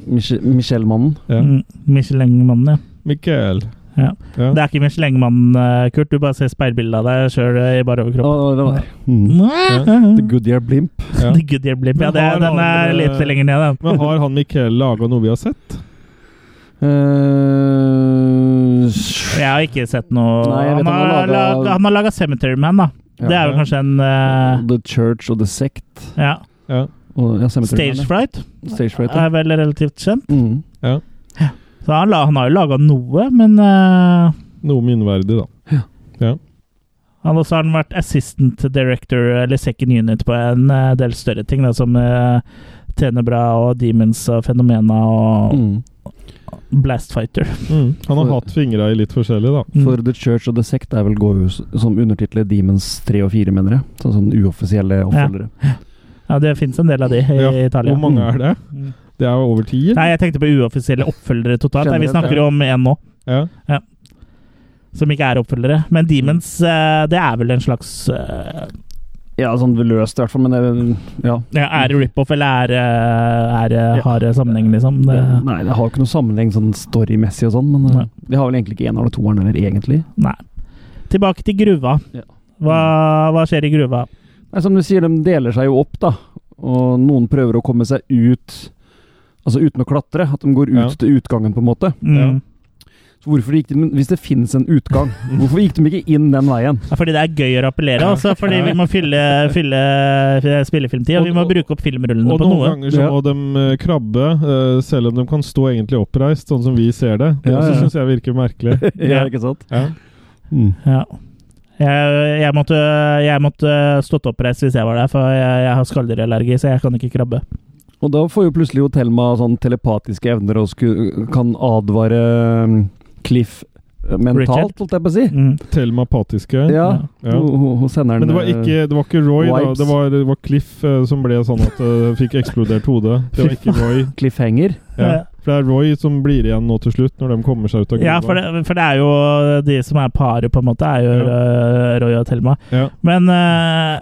S3: Michel- Michel-mannen.
S2: Ja.
S1: Mm. Michelin-mannen, ja.
S2: Miquel.
S1: Ja.
S2: Ja.
S1: Det er ikke Michelin-mannen, eh, Kurt. Du bare ser speilbildet av deg sjøl i bar overkropp.
S3: Ja, det var mm. The
S1: The
S3: Goodyear Blimp.
S2: Ja.
S1: Goodyear Blimp. Ja,
S2: Men
S1: det,
S2: har
S1: den er
S2: alle-
S1: litt lenger ned,
S2: Men
S1: den.
S2: har han Miquel laga noe vi har sett?
S3: Eh,
S1: Jeg har ikke sett noe
S3: Nei, jeg vet
S1: Han
S3: han har
S1: har
S3: laget-
S1: lag- han har laga Cemetery Man, da.
S3: Ja.
S1: Det er jo
S2: Ja.
S1: kanskje en eh,
S3: The Church og The Sect.
S1: ja.
S2: Ja.
S3: Og, ja, Cemetery
S1: Stage
S3: Man,
S1: Fright
S3: ja. Stage Fright. Ja.
S1: er vel relativt kjent.
S3: Mm.
S1: Så han, la, han har jo laga noe, men eh,
S2: Noe minneverdig, da.
S1: han også har han vært assistant director, eller second unit, på en eh, del større ting, da, som eh, Tenebra og Demons og Fenomena og
S3: Mm.
S1: Blast Fighter.
S2: Mm. Han har
S3: For-
S2: hatt fingra i litt forskjellig, da.
S1: Mm.
S3: For The Church og The Sect er vel går jo s- som undertitler Demons 3 og 4, mener jeg. Sånn, sånn uoffisielle oppfølgere.
S1: Ja, det fins en del av de i
S2: Ja.
S1: Italia.
S2: Hvor mange er det?
S1: Mm.
S2: Det er over ti?
S1: Nei, jeg tenkte på uoffisielle oppfølgere totalt. Nei, vi
S3: Generelt,
S1: snakker
S2: ja.
S1: om én nå,
S2: Ja.
S1: som ikke er oppfølgere. Men Demons, eh, det er vel en slags eh,
S3: Ja, sånn løst i hvert fall, men det Ja.
S1: ja, Er det rip-off, eller er, eh, er, det
S3: Ja.
S1: harde sammenheng, liksom? Det,
S3: Nei, det har jo ikke noe sammenheng sånn storymessig og sånn, men eh,
S1: Nei.
S3: de har vel egentlig ikke eneren og toeren heller, egentlig.
S1: Nei. Tilbake til gruva.
S3: Ja.
S1: Hva, hva skjer i gruva?
S3: Nei, som du sier, de deler seg jo opp, da. Og noen prøver å komme seg ut Altså uten å klatre. At de går
S2: Ja.
S3: ut til utgangen, på en måte.
S1: Mm.
S3: Så hvorfor gikk de, Hvis det finnes en utgang, hvorfor gikk de ikke inn den veien?
S1: Ja, fordi det er gøy å rappellere, altså. Fordi vi må fylle, fylle spillefilmtid, og vi må bruke opp filmrullene
S2: Og
S1: på
S2: noen
S1: noe.
S2: ganger så
S3: Ja.
S2: må de eh, krabbe, eh, selv om de kan stå egentlig oppreist, sånn som vi ser det. Det
S3: Ja,
S2: også
S3: ja.
S2: syns jeg virker merkelig.
S1: Ja.
S3: ikke sant?
S2: Ja.
S3: Mm.
S1: Ja. Jeg, jeg måtte, jeg måtte stått oppreist hvis jeg var der, for jeg, jeg har skalldyrallergi, så jeg kan ikke krabbe.
S3: Og da får jo plutselig jo Thelma sånn telepatiske evner og sku, kan advare mm, Cliff eh, mentalt,
S1: Richard.
S3: holdt jeg på å si.
S1: Mm.
S2: Telemapatiske.
S3: Ja,
S2: Ja.
S3: Hun, hun- hun sender eh,
S2: Men
S3: den
S2: det var ikke, det var ikke Roy, da.
S3: Wipes.
S2: Det var, det var Cliff eh, som ble sånn at det fikk eksplodert hodet. Det var ikke Roy.
S3: cliffhanger.
S2: Ja. For det er Roy som blir igjen nå til slutt, når de kommer seg ut av gruva.
S1: Ja, for det, for det er jo de som er paret, på en måte, er jo øh, Roy og Thelma.
S2: Ja.
S1: Men øh,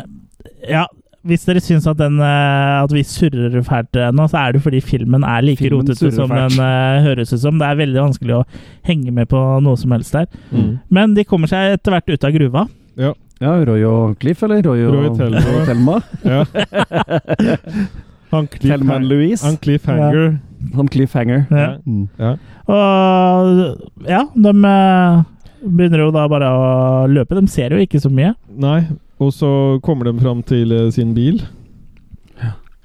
S1: ja, hvis dere syns at, den, øh, at vi surrer fælt øh, nå, så er det fordi filmen er like
S3: Filmen
S1: rotete
S3: surrer
S1: som
S3: fælt.
S1: den øh, høres ut som. Det er veldig vanskelig å henge med på noe som helst der.
S2: Mm.
S1: Men de kommer seg etter hvert ut av gruva.
S2: Ja.
S3: Ja, Roy og Cliff, eller? Roy og
S2: Roy og Thelma.
S3: Roy og Thelma.
S2: ja. Han
S3: Thelma and Louise.
S2: Han cliffhanger.
S3: Som cliffhanger.
S1: Ja.
S3: Mm.
S2: Ja.
S1: Og ja, de eh, begynner jo da bare å løpe. De ser jo ikke så mye.
S2: Nei, og så kommer de fram til eh, sin bil.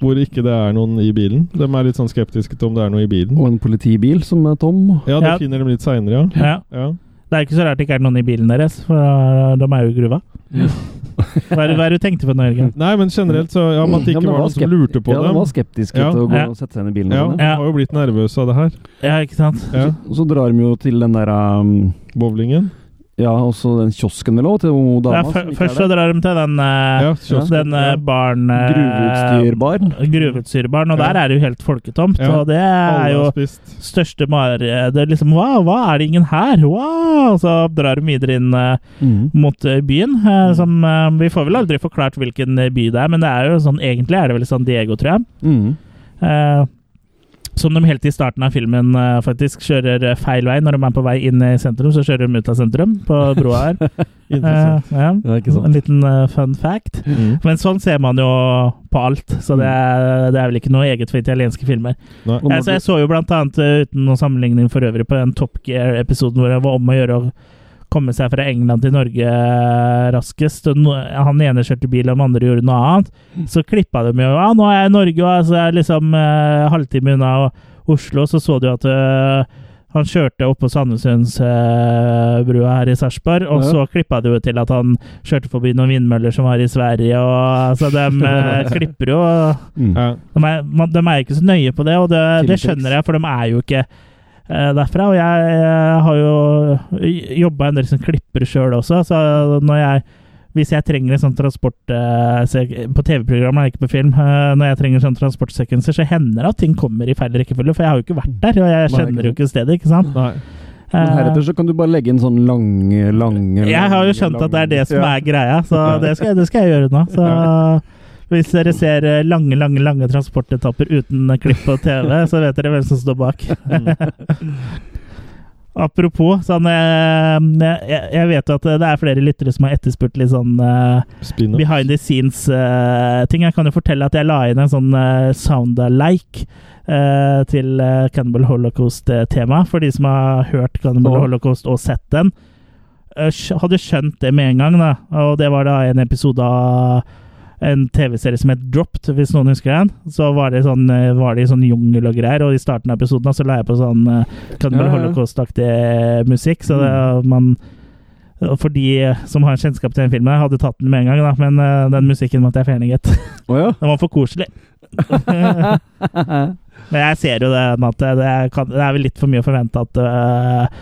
S2: Hvor ikke det er noen i bilen. De er litt sånn skeptiske til om det er noe i bilen.
S3: Mm. Og en politibil som er tom.
S2: Ja, det
S1: Ja.
S2: finner de litt seinere, ja.
S1: Ja.
S2: ja.
S1: Det er ikke så rart det ikke er noen i bilen deres, for eh, de er jo i gruva. Hva er det, hva er det du tenkte på, Norge?
S2: Nei, men generelt så Ja, men at det
S3: Ja,
S2: ikke
S3: men
S2: var
S3: var
S2: noen som
S3: skept-
S2: lurte på
S3: Ja, de
S2: dem.
S3: var skeptiske
S2: Ja.
S3: til å gå
S1: Ja.
S3: og sette seg inn i bilen.
S2: Ja,
S3: og sånn,
S2: de har jo blitt nervøse av det her.
S1: Ja, ikke sant?
S2: Ja,
S3: Og så drar de jo til den der um,
S2: Bowlingen.
S3: Ja, også den kiosken vel òg, til hun dama
S1: Ja,
S3: som
S1: fø-
S3: ikke
S1: først så
S3: er der.
S1: drar de til den, eh,
S2: Ja, kiosken,
S1: den eh,
S2: ja.
S1: barn... eh,
S3: Gruveutstyrbar.
S1: Gruveutstyrbaren, og
S2: Ja.
S1: der er det jo helt folketomt.
S2: Ja.
S1: Og det er
S2: Alle
S1: jo
S2: har spist.
S1: største mare... Det er liksom Wow, hva er det ingen her? Wow! Så drar de videre inn eh,
S3: Mm.
S1: mot eh, byen, eh, som eh, Vi får vel aldri forklart hvilken eh, by det er, men det er jo sånn Egentlig er det vel sånn Diego, tror jeg.
S3: Mm.
S1: Eh, som de helt i starten av filmen eh, faktisk kjører eh, feil vei. Når de er på vei inn i sentrum, så kjører de ut av sentrum, på broa her. Eh,
S2: Interessant.
S1: ja.
S3: Ja, ikke sant.
S1: En liten eh, fun fact.
S2: Mm.
S1: Men sånn ser man jo på alt,
S3: Mm.
S1: så det er, det er vel ikke noe eget for italienske filmer.
S2: Nei.
S3: Og når
S1: Altså, Jeg, så, jeg så jo blant annet, eh, uten noen sammenligning for øvrig, på den Top Gear-episoden hvor det var om å gjøre å komme seg fra England til Norge eh, raskest. Og no, han ene kjørte bil, og den andre gjorde noe annet. Så klippa de jo Ja, nå er jeg i Norge, og altså, jeg er liksom eh, halvtime unna Oslo. Så så du at eh, han kjørte oppå Sandnesundsbrua eh, her i Sarpsborg, og
S3: Ja.
S1: så klippa det jo til at han kjørte forbi noen vindmøller som var i Sverige, og altså, de eh, klipper jo. Eh,
S3: Mm.
S2: Ja.
S1: De er, man, de er ikke så nøye på det, og det, det
S3: Filmtriks.
S1: skjønner jeg, for de er jo ikke eh, derfra. Og jeg, eh, har jo jobba en del som klipper sjøl også, så når jeg hvis jeg trenger en sånn transport eh, se- På TV-programmer, ikke på film. eh, Når jeg trenger sånn transportsekvenser, så hender det at ting kommer i feil rekkefølge. For jeg har jo ikke vært der, og jeg
S3: Mm. Nei, ikke
S1: kjenner jo ikke stedet. ikke sant?
S2: Nei.
S3: Men
S1: Eh,
S3: heretter så kan du bare legge inn sånn lange, lange
S1: Jeg har jo skjønt at det er det som er greia, så det skal, jeg- det skal jeg gjøre nå. Så hvis dere ser eh, lange, lange lange transportetapper uten eh, klipp på TV, så vet dere hvem som står bak. Apropos sånn eh, Jeg jeg vet jo at det er flere lyttere som har etterspurt litt sånn eh,
S2: Spin-up.
S1: behind the scenes-ting. jeg kan jo fortelle at jeg la inn en sånn eh, sound-alike eh, til eh, Cannibal Holocaust-tema, for de som har hørt Cannibal
S3: Åh.
S1: Holocaust og sett den. eh, skj- Hadde skjønt det med en gang, da. Og det var da en episode av en TV-serie som het Dropped, hvis noen husker den. Så var det, sånn, eh, var det i sånn jungel og greier, og i starten av episoden da, så la jeg på sånn eh, Cannibal
S3: Ja, ja.
S1: Holocaust-aktig musikk, så det, man for de som har kjennskap til den filmen, jeg hadde tatt den med en gang, da, men eh, den musikken måtte jeg fjerne, gitt.
S3: Å ja?
S1: Den var for koselig. men jeg ser jo det, at det, det kan, det er vel litt for mye å forvente at eh,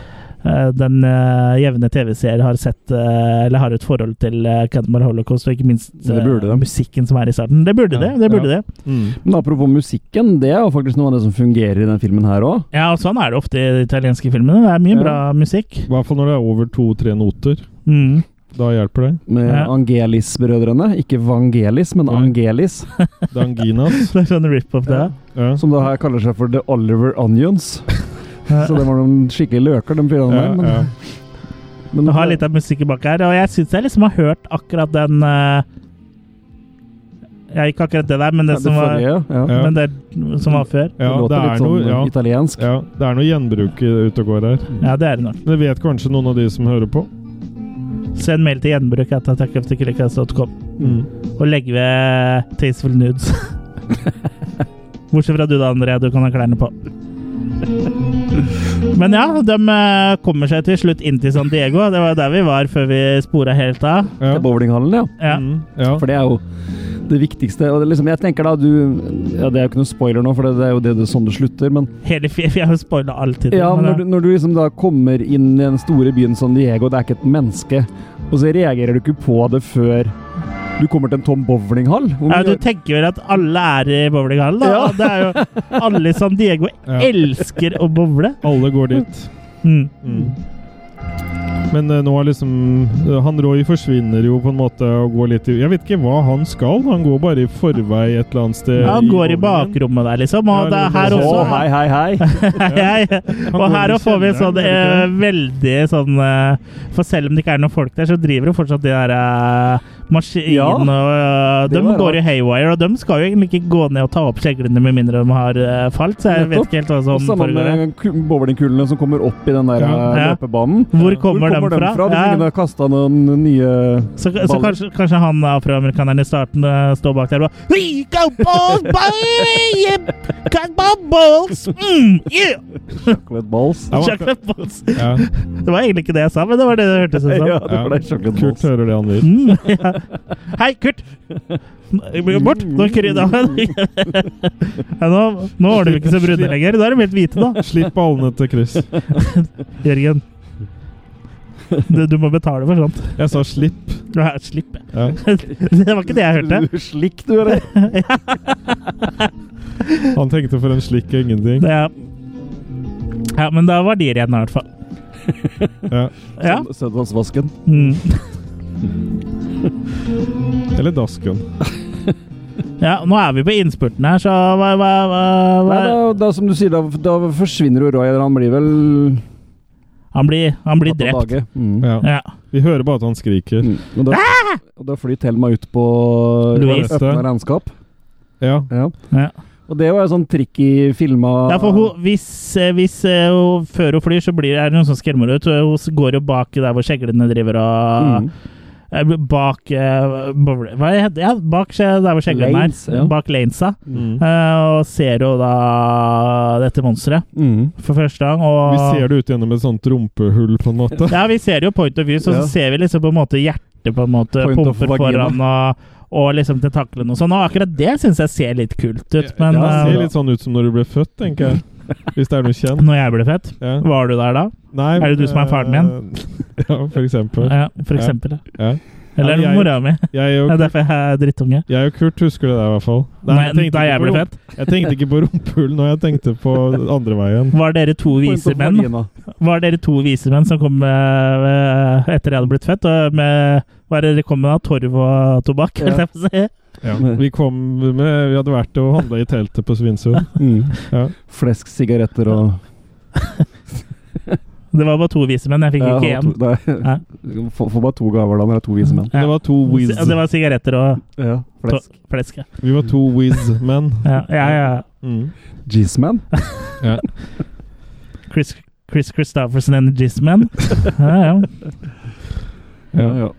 S1: eh, den eh, jevne TV-seer har sett eh, eller har et forhold til uh, Cannibal Holocaust, og ikke minst
S3: Men det
S1: eh,
S3: burde de.
S1: musikken som er i starten. Det burde
S2: Ja,
S1: det. det burde det.
S2: Mm.
S3: Men apropos musikken, det er jo faktisk noe av det som fungerer i den filmen her òg.
S1: Ja, og sånn er det ofte i de italienske filmene. Det er mye
S3: Ja.
S1: bra musikk.
S2: I hvert fall når det er over to-tre noter.
S1: Mm.
S2: Da hjelper det.
S3: Med
S1: Ja.
S3: Angelis-brødrene. Ikke Vangelis, men
S2: Nei.
S3: Angelis.
S2: Det er anginas.
S1: Det er sånn rip-off, det.
S2: Ja.
S3: Som da her kaller seg for The Oliver Onions. Så det var noen skikkelige løker, de fyrene
S2: Ja,
S3: der. Men,
S2: ja.
S3: men
S1: Du har litt av musikken bak her, og jeg syns jeg liksom har hørt akkurat den eh, Ja, ikke akkurat det der, men det,
S3: det
S1: som, var,
S3: forrige, ja.
S2: ja.
S1: men det som var før.
S2: Ja,
S3: det
S2: det
S3: låter
S2: er
S3: litt sånn
S2: noe ja,
S3: italiensk.
S2: ja, det er noe gjenbruk i- ute og går her.
S1: Ja, det er det nok.
S2: Det vet kanskje noen av de som hører på.
S1: Send mail til gjenbruk at attackofthekillercast.com og legg ved Tasteful Nudes. Bortsett fra du da, André. Du kan ha klærne på. Men ja, de eh, kommer seg til slutt inn til San Diego. Det var der vi var før vi spora helt av.
S2: Ja.
S3: Til bowlinghallen, ja.
S1: Ja.
S2: Mm. ja.
S3: For det er jo det viktigste. Og det er liksom, jeg tenker da, du ja, Det er jo ikke noe spoiler nå, for det, det er jo det, det sånn det slutter, men
S1: Hele fi- Vi har jo spoila alltid.
S3: Ja, når du, når du liksom da kommer inn i den store byen San Diego, det er ikke et menneske, og så reagerer du ikke på det før du kommer til en tom bowlinghall. Hvor
S1: Ja,
S3: mye-
S1: du tenker vel at alle er i bowlinghallen, da?
S3: Ja.
S1: Det er jo, alle i San Diego
S2: Ja.
S1: elsker å bowle.
S2: Alle går dit.
S1: Mm.
S2: Men eh, nå er liksom eh, Han Roy forsvinner jo på en måte og går litt i Jeg vet ikke hva han skal. Han går bare i forvei et eller annet sted.
S1: Han går i
S2: bowlingen.
S1: bakrommet der, liksom.
S2: Ja,
S1: Og det er her
S2: det er
S3: Å, hei,
S1: også.
S3: hei, hei!
S1: Hei, hei. Og
S2: går
S1: her
S2: i
S1: også får vi en sånn eh,
S2: kjelleren,
S1: veldig sånn eh, For selv om det ikke er noen folk der, så driver jo fortsatt de der eh, maskin
S3: Ja,
S1: og øh,
S3: det
S1: De
S3: var
S1: går i haywire, og de skal jo egentlig ikke gå ned og ta opp kjeglene med mindre de har øh, falt, så jeg vet
S3: Nettopp.
S1: ikke helt hva
S3: Og
S1: som
S3: Samme
S1: foregår.
S3: med ku- bowlingkulene som kommer opp i den der
S2: Ja.
S3: eh,
S1: Ja.
S3: løpebanen.
S1: Hvor kommer,
S3: Hvor kommer
S1: de fra?
S3: Hvis
S1: Ja.
S3: ingen har kasta noen nye
S1: Så, så
S3: baller.
S1: kanskje, kanskje han afroamerikaneren i starten øh, står bak der og bare We go balls, baby! Yep. Cut my balls! Mm, yeah!
S3: Chocolate balls.
S2: Ja, man-
S1: Chocolate balls.
S2: Ja,
S1: Det var egentlig ikke det jeg sa, men det var det det hørtes ut som.
S3: Ja, det var
S2: ja.
S3: det
S2: Kurt
S3: chocolate balls.
S2: hører det han vil.
S1: Mm, ja. Hei, Kurt! Jeg blir Bort! Nå krydder
S2: Mm.
S1: jeg ja, Nå, nå var de ikke så brune lenger. Da er de helt hvite, da.
S2: Slipp ballene til Chris.
S1: Jørgen. Du, du må betale for sånt.
S2: Jeg sa slipp.
S1: Ja, Slipp.
S2: Ja.
S1: Det var ikke det jeg hørte.
S3: Du Slik du, eller?
S2: Han tenkte for en slikk er ingenting.
S1: Ja. ja, men da var de rene, i hvert fall.
S2: Ja.
S1: Ja.
S3: Søndagsvasken. Søndagsvasken.
S1: Mm.
S2: Eller dasken.
S1: ja. Nå er vi på innspurten her, så hva, hva, hva, hva?
S3: Nei, da, da, som du sier, da, da forsvinner jo Roy, eller han blir vel
S1: Han blir, han blir
S3: tatt av
S1: drept.
S3: dage. Mm.
S2: Ja.
S1: Ja.
S2: Vi hører bare at han skriker.
S3: Mm. Og, da, og da flyr Thelma ut på
S1: Ah! Louise.
S3: åpne regnskap.
S2: Ja.
S3: Ja.
S1: Ja.
S3: Og det var jo sånn tricky filma
S1: Ja, for hun, hvis, eh, hvis eh, hun, før hun flyr, så blir er det noen som skremmer ut. Hun s- går jo bak der hvor kjeglene driver og
S3: Mm.
S1: eh, Bak eh, bowle- Hva heter det? Ja, bak eh, der hvor kjeglene
S3: Lanes,
S1: er.
S3: ja.
S1: Bak lanesa.
S2: Mm.
S1: Eh, og ser jo da dette monsteret
S3: Mm.
S1: for første gang. Og
S2: Vi ser det ut gjennom et sånt rumpehull, på en måte.
S1: Ja, vi ser jo point of view, så,
S3: Ja.
S1: så ser vi liksom på en måte hjertet på en måte
S3: Point of
S1: pumper
S3: vagina.
S1: foran og, og liksom tentaklene og sånn. Og akkurat det syns jeg ser litt kult ut, men
S2: det
S1: eh,
S2: ser litt sånn ut som når du ble født, tenker jeg. Hvis det er noe kjent.
S1: når jeg ble født
S2: Ja.
S1: Var du der da?
S2: Nei,
S1: Er det du som er faren min?
S2: eh, Ja, for eksempel.
S1: Ja, for
S2: Ja.
S1: eksempel. Ja.
S2: Ja.
S1: Eller
S2: Ja, jeg-
S1: mora mi.
S2: Jeg
S1: Det
S2: og,
S1: er derfor jeg er drittunge.
S2: jeg og Kurt husker det der, i hvert fall. Nei,
S1: Nei,
S2: tenkte
S1: da
S2: ikke
S1: jeg
S2: på
S1: ble
S2: rump-
S1: født.
S2: Jeg tenkte ikke på rumpehull nå, jeg tenkte på andre veien.
S1: Var dere to vise
S3: Point of
S1: menn?
S3: vagina.
S1: Var dere to vise menn som kom eh, etter jeg hadde blitt født? Og med, hva er det dere kom med da? Torv og tobakk?
S3: Ja.
S1: holdt jeg på å si?
S2: Ja. Vi kom med Vi hadde vært og handla i teltet på Svinesund.
S3: Mm.
S2: Ja.
S3: Flesk, sigaretter og
S1: Det var bare to vise menn, jeg fikk
S3: Ja,
S1: ikke én.
S3: to- nei.
S1: Ja.
S3: Du får- Får bare to gaver da når det er to vise menn.
S1: Ja.
S2: Det var to whiz.
S1: Si- Det var sigaretter og
S3: Ja,
S1: to-
S3: Flesk.
S1: flesk. ja.
S2: Vi var to whiz-menn.
S1: Ja, ja, ja.
S2: Mm.
S3: Jizz-man?
S2: Ja.
S1: Chris, Chris Christofferson and the Jizzman. Ja, ja.
S2: Ja.
S3: ja.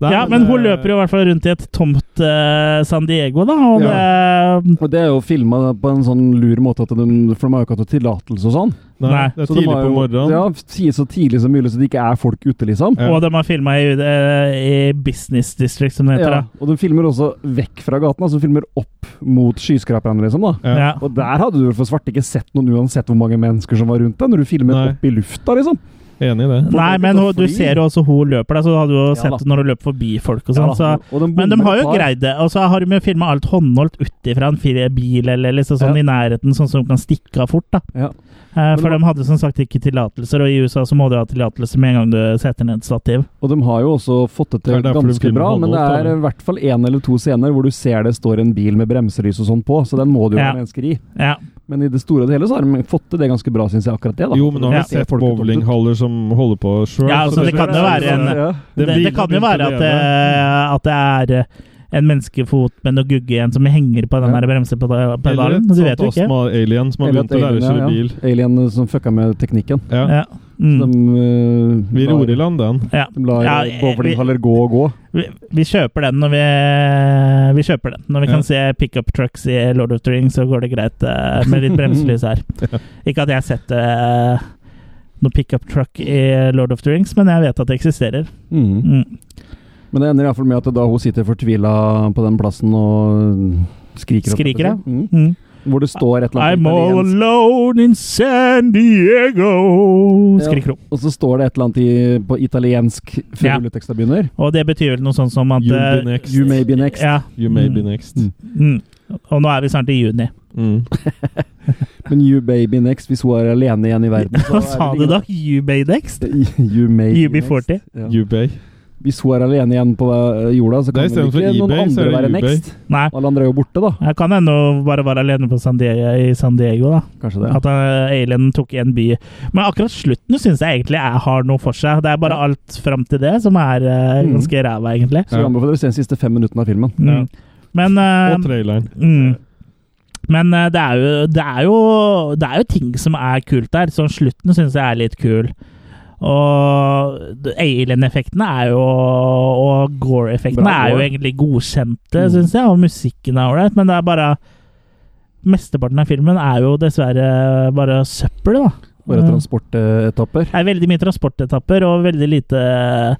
S2: Nei,
S1: ja, men hun
S2: eh,
S1: løper jo i hvert fall rundt i et tomt eh, San Diego, da. Og det,
S3: Og det er jo filma på en sånn lur måte, at de, for de har jo ikke hatt noe tillatelse og sånn.
S2: Nei,
S1: Nei.
S2: det er
S3: Så de
S2: tidlig
S3: har
S2: på
S3: jo-
S2: morgenen.
S3: Ja, si så tidlig som mulig, så det ikke er folk ute, liksom.
S2: Ja.
S1: og de har filma i, eh, i Business District, som det heter. da.
S3: Ja, og de filmer også vekk fra gaten, altså de filmer opp mot skyskraperne, liksom. da.
S2: Ja.
S1: Ja.
S3: Og der hadde du for svarte ikke sett noen uansett hvor mange mennesker som var rundt deg, når du filmet
S2: Nei.
S3: opp i lufta, liksom.
S2: Enig i det.
S1: Nei,
S3: Folk
S1: men
S3: begynte å
S1: hun, du
S3: fly.
S1: ser jo også hun løper der, så du hadde jo sett
S3: da.
S1: det når hun løper forbi folk og sånn.
S3: Ja,
S1: så.
S3: og de
S1: Men de
S3: bomber
S1: har jo
S3: et par.
S1: greid det. Og så har de jo filma alt håndholdt utifra en fire- bil eller liksom sånn
S3: Ja.
S1: i nærheten, sånn som kan stikke av fort. da.
S3: Ja.
S1: Eh,
S3: det
S1: for
S3: var-
S1: de hadde som sagt ikke tillatelser, og i USA så må du ha tillatelse med en gang du setter ned et stativ.
S3: Og de har jo også fått det til
S2: Det er derfor de
S3: ganske
S2: filmer
S3: bra, men det
S2: håndholdt,
S3: er
S2: da.
S3: i hvert fall én eller to scener hvor du ser det står en bil med bremselys og sånn på, så den må det jo
S1: Ja.
S3: være mennesker i.
S1: Ja.
S3: Men i det store og det hele så har de fått til det ganske bra, syns jeg, akkurat det. da.
S2: Jo, men nå har
S1: Ja.
S2: vi sett bowlinghaller som holder på sjøl.
S1: Ja, altså, det kan jo være en- Det, det, kan jo være at det, at det er eh, en menneskefot med noe gugge igjen som henger på den
S3: Ja.
S1: der bremsepedalen. Du
S2: Eller
S1: vet
S2: et
S1: jo ikke.
S2: astma-alien som har begynt å lære å kjøre bil.
S3: Alien som fucka med teknikken.
S2: Ja.
S1: Ja. Mm.
S3: De, eh,
S2: Vi
S3: lar-
S2: ror i land den.
S1: Ja.
S3: De lar
S1: Ja,
S3: eh, bowlinghaller gå og gå.
S1: Vi, vi kjøper den når vi, vi kjøper den. Når vi
S2: Ja.
S1: kan se pickup trucks i Lord of the Rings, så går det greit eh, med litt bremselys her. Ikke at jeg har sett eh, noe pickup truck i Lord of the Rings, men jeg vet at det eksisterer.
S3: Mhm.
S1: Mm.
S3: Men det ender iallfall med at da hun sitter fortvila på den plassen og skriker.
S1: Skriker, ja.
S3: opp, Mhm.
S1: Mm.
S3: Hvor det står et eller annet
S1: I'm
S3: på
S1: all
S3: italiensk,
S1: alone in San Diego,
S3: Ja.
S1: skriker hun.
S3: og så står det et eller annet i, på italiensk før
S1: Ja.
S3: rulleteksta begynner.
S1: Og det betyr vel noe sånt som at
S2: You'll
S1: eh,
S2: be next.
S3: You may be next.
S1: Ja.
S2: You may be next.
S1: Mm. Og nå er vi snart i juni.
S2: Mm.
S3: Men You Baby Next, hvis hun er alene igjen i verden
S1: Hva sa du da? You Baydex?
S3: You May
S1: You
S3: Be
S1: Be 40?
S3: Next. Ja.
S2: You bay.
S3: Hvis hun er alene igjen på eh, jorda, så
S2: Det er
S3: kan vel
S2: istedenfor
S3: ikke noen
S2: eBay, så er
S3: andre
S2: det
S3: være
S2: eBay.
S3: next?
S1: Nei.
S3: Alle andre er jo borte, da.
S1: Jeg kan hende å bare være alene på San Diego, i San Diego, da.
S3: Kanskje det.
S1: At eh, alien tok igjen by. Men akkurat slutten syns jeg egentlig er, har noe for seg. Det er bare alt fram til det som er eh,
S3: Mm.
S1: ganske ræva, egentlig.
S3: Så vi anbefaler å se de siste fem minuttene av filmen.
S1: Mm. Men eh,
S2: Og traileren.
S1: Mm. Men eh, det, er jo, det, er jo, det er jo ting som er kult der. Så slutten syns jeg er litt kul. Og d- alien-effektene er jo Og gore-effektene
S3: Bra
S1: er jo
S3: gore.
S1: egentlig godkjente,
S3: Mm.
S1: syns jeg. Og musikken er ålreit, men det er bare Mesteparten av filmen er jo dessverre bare søppel, da.
S3: Bare
S1: Mm.
S3: transportetapper.
S1: Det er veldig mye transportetapper og veldig lite eh,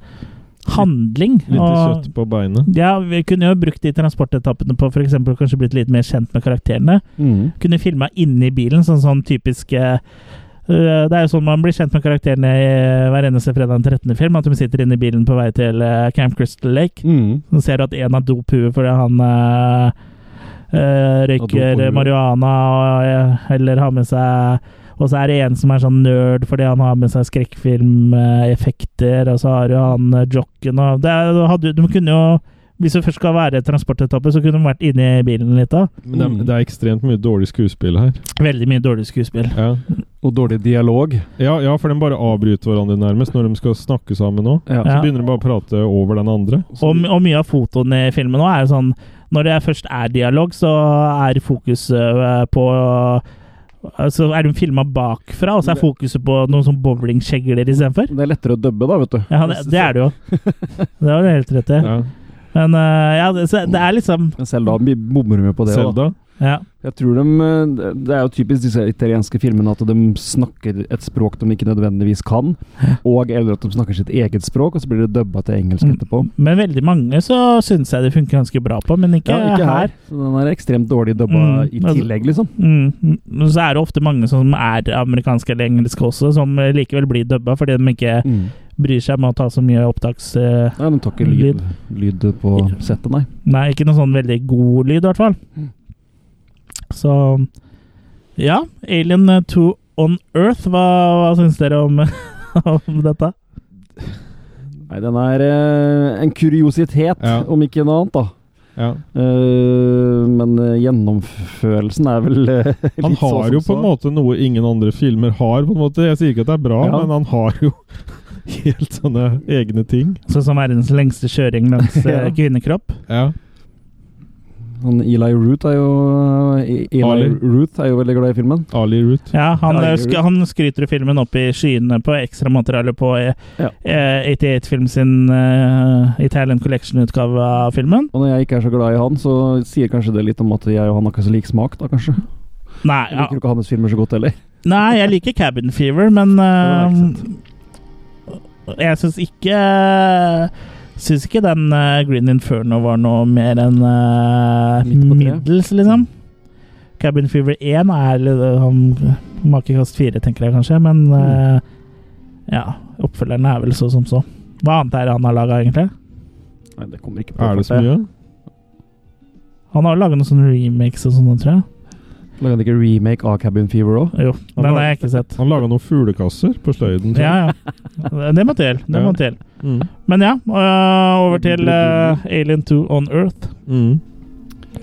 S1: handling.
S2: Lite
S1: og-
S2: kjøtt på beinet.
S1: ja, vi kunne jo brukt de transportetappene på for eksempel kanskje blitt litt mer kjent med karakterene.
S3: Mm.
S1: Kunne filma inni bilen, sånn sånn typisk eh, øh, Det er jo sånn man blir kjent med karakterene i hver eneste fredag den 13. film, at de sitter inne i bilen på vei til eh, Camp Crystal Lake.
S3: Mm.
S1: Så ser du at en har dophuet fordi han eh, eh, røyker
S3: Dophuet.
S1: marihuana og, eh, eller har med seg Og så er det en som er sånn nerd fordi han har med seg skrekkfilmeffekter, og så har jo han eh, jocken og det, er- hadde, jo- De kunne jo Hvis det først skal være transportetappe, så kunne de vært inni bilen litt da.
S2: Men det er, det er ekstremt mye dårlig skuespill her.
S1: Veldig mye dårlig skuespill.
S2: Ja.
S3: Og dårlig dialog.
S2: Ja, ja, for de bare avbryter hverandre nærmest når de skal snakke sammen nå.
S1: Ja.
S3: Ja.
S2: Så begynner de bare å prate over den andre.
S1: Og, og mye av fotoen i filmen nå er jo sånn Når det først er dialog, så er fokuset øh, på øh, Så er de filma bakfra, og så er fokuset på noen sånn bowlingkjegler istedenfor.
S3: Det er lettere å dubbe, da, vet du.
S1: Ja, det, det er det jo. Det har du helt rett i.
S2: Ja.
S1: Men øh, ja, det, så det er liksom
S3: Men selv da vi bommer de jo på det. Da.
S2: Selda.
S1: Ja.
S3: Jeg tror de, eh, Det er jo typisk disse italienske filmene at de snakker et språk de ikke nødvendigvis kan, og eller at de snakker sitt eget språk, og så blir det dubba til engelsk
S1: Mm.
S3: etterpå.
S1: Men veldig mange så syns jeg det funker ganske bra på, men ikke,
S3: Ja, ikke her.
S1: her.
S3: Så den er ekstremt dårlig dubba
S1: Mm.
S3: i tillegg, liksom.
S1: Mm. Men så er det ofte mange som er amerikanske eller engelske også, som likevel blir dubba fordi de ikke
S3: Mm.
S1: bryr seg med å ta så mye opptaks... øh,
S3: Nei, den tar ikke lyd, lyd på settet, nei.
S1: Nei, ikke noe sånn veldig god lyd, i hvert fall.
S3: Mm.
S1: Så Ja, Alien 2 on Earth, hva, hva syns dere om, om dette?
S3: Nei, den er eh, en kuriositet,
S2: Ja.
S3: om ikke noe annet, da.
S2: Ja.
S3: Eh, men eh, gjennomførelsen er vel eh, litt
S2: Han
S3: så som
S2: har jo på en
S3: så.
S2: måte noe ingen andre filmer har. på en måte. Jeg sier ikke at det er bra,
S3: Ja.
S2: men han har jo helt sånne egne ting.
S1: Sånn som verdens lengste kjøring langs eh,
S3: Ja.
S1: kvinnekropp.
S2: Ja.
S3: Han Eli Root er jo eh, Eli
S2: Ali.
S3: Root er jo veldig glad i filmen.
S2: Ali Root.
S1: Ja, han,
S3: Ja,
S1: eh,
S3: jeg-
S1: sk han skryter jo filmen opp i skyene på ekstramaterialet på eh,
S3: Ja.
S1: eh, 88 Film sin eh, Italian Collection-utgave av filmen.
S3: Og når jeg ikke er så glad i han, så sier kanskje det litt om at jeg og han har ikke så lik smak, da kanskje.
S1: Nei,
S3: Jeg
S1: ja.
S3: liker jo ikke hans filmer så godt heller.
S1: Nei, jeg liker Cabin Fever, men
S3: har jeg
S1: eh, Jeg syns ikke Syns ikke den eh, Green Inferno var noe mer enn eh,
S3: Midt på treet.
S1: middels, liksom. Cabin Fever 1 er litt, eh, han- makekast 4, tenker jeg kanskje, men
S2: Mm.
S1: eh, ja. Oppfølgeren er vel så som så. Hva annet er det han har laga, egentlig?
S3: Nei, det kommer ikke på
S2: Er det så
S3: farten.
S2: mye?
S1: Han har laga noen sånne remakes og sånne, tror jeg.
S3: Lager han ikke remake av Cabin Fever òg?
S1: Jo,
S2: Han
S1: den
S2: har-
S1: har jeg ikke sett.
S2: Han laga noen fuglekasser på sløyden. tror jeg.
S1: Ja, ja. Det må til. Det
S2: Ja.
S1: må til.
S2: Mm.
S1: Men ja, øh, over til øh, Alien 2 on Earth.
S2: Mm.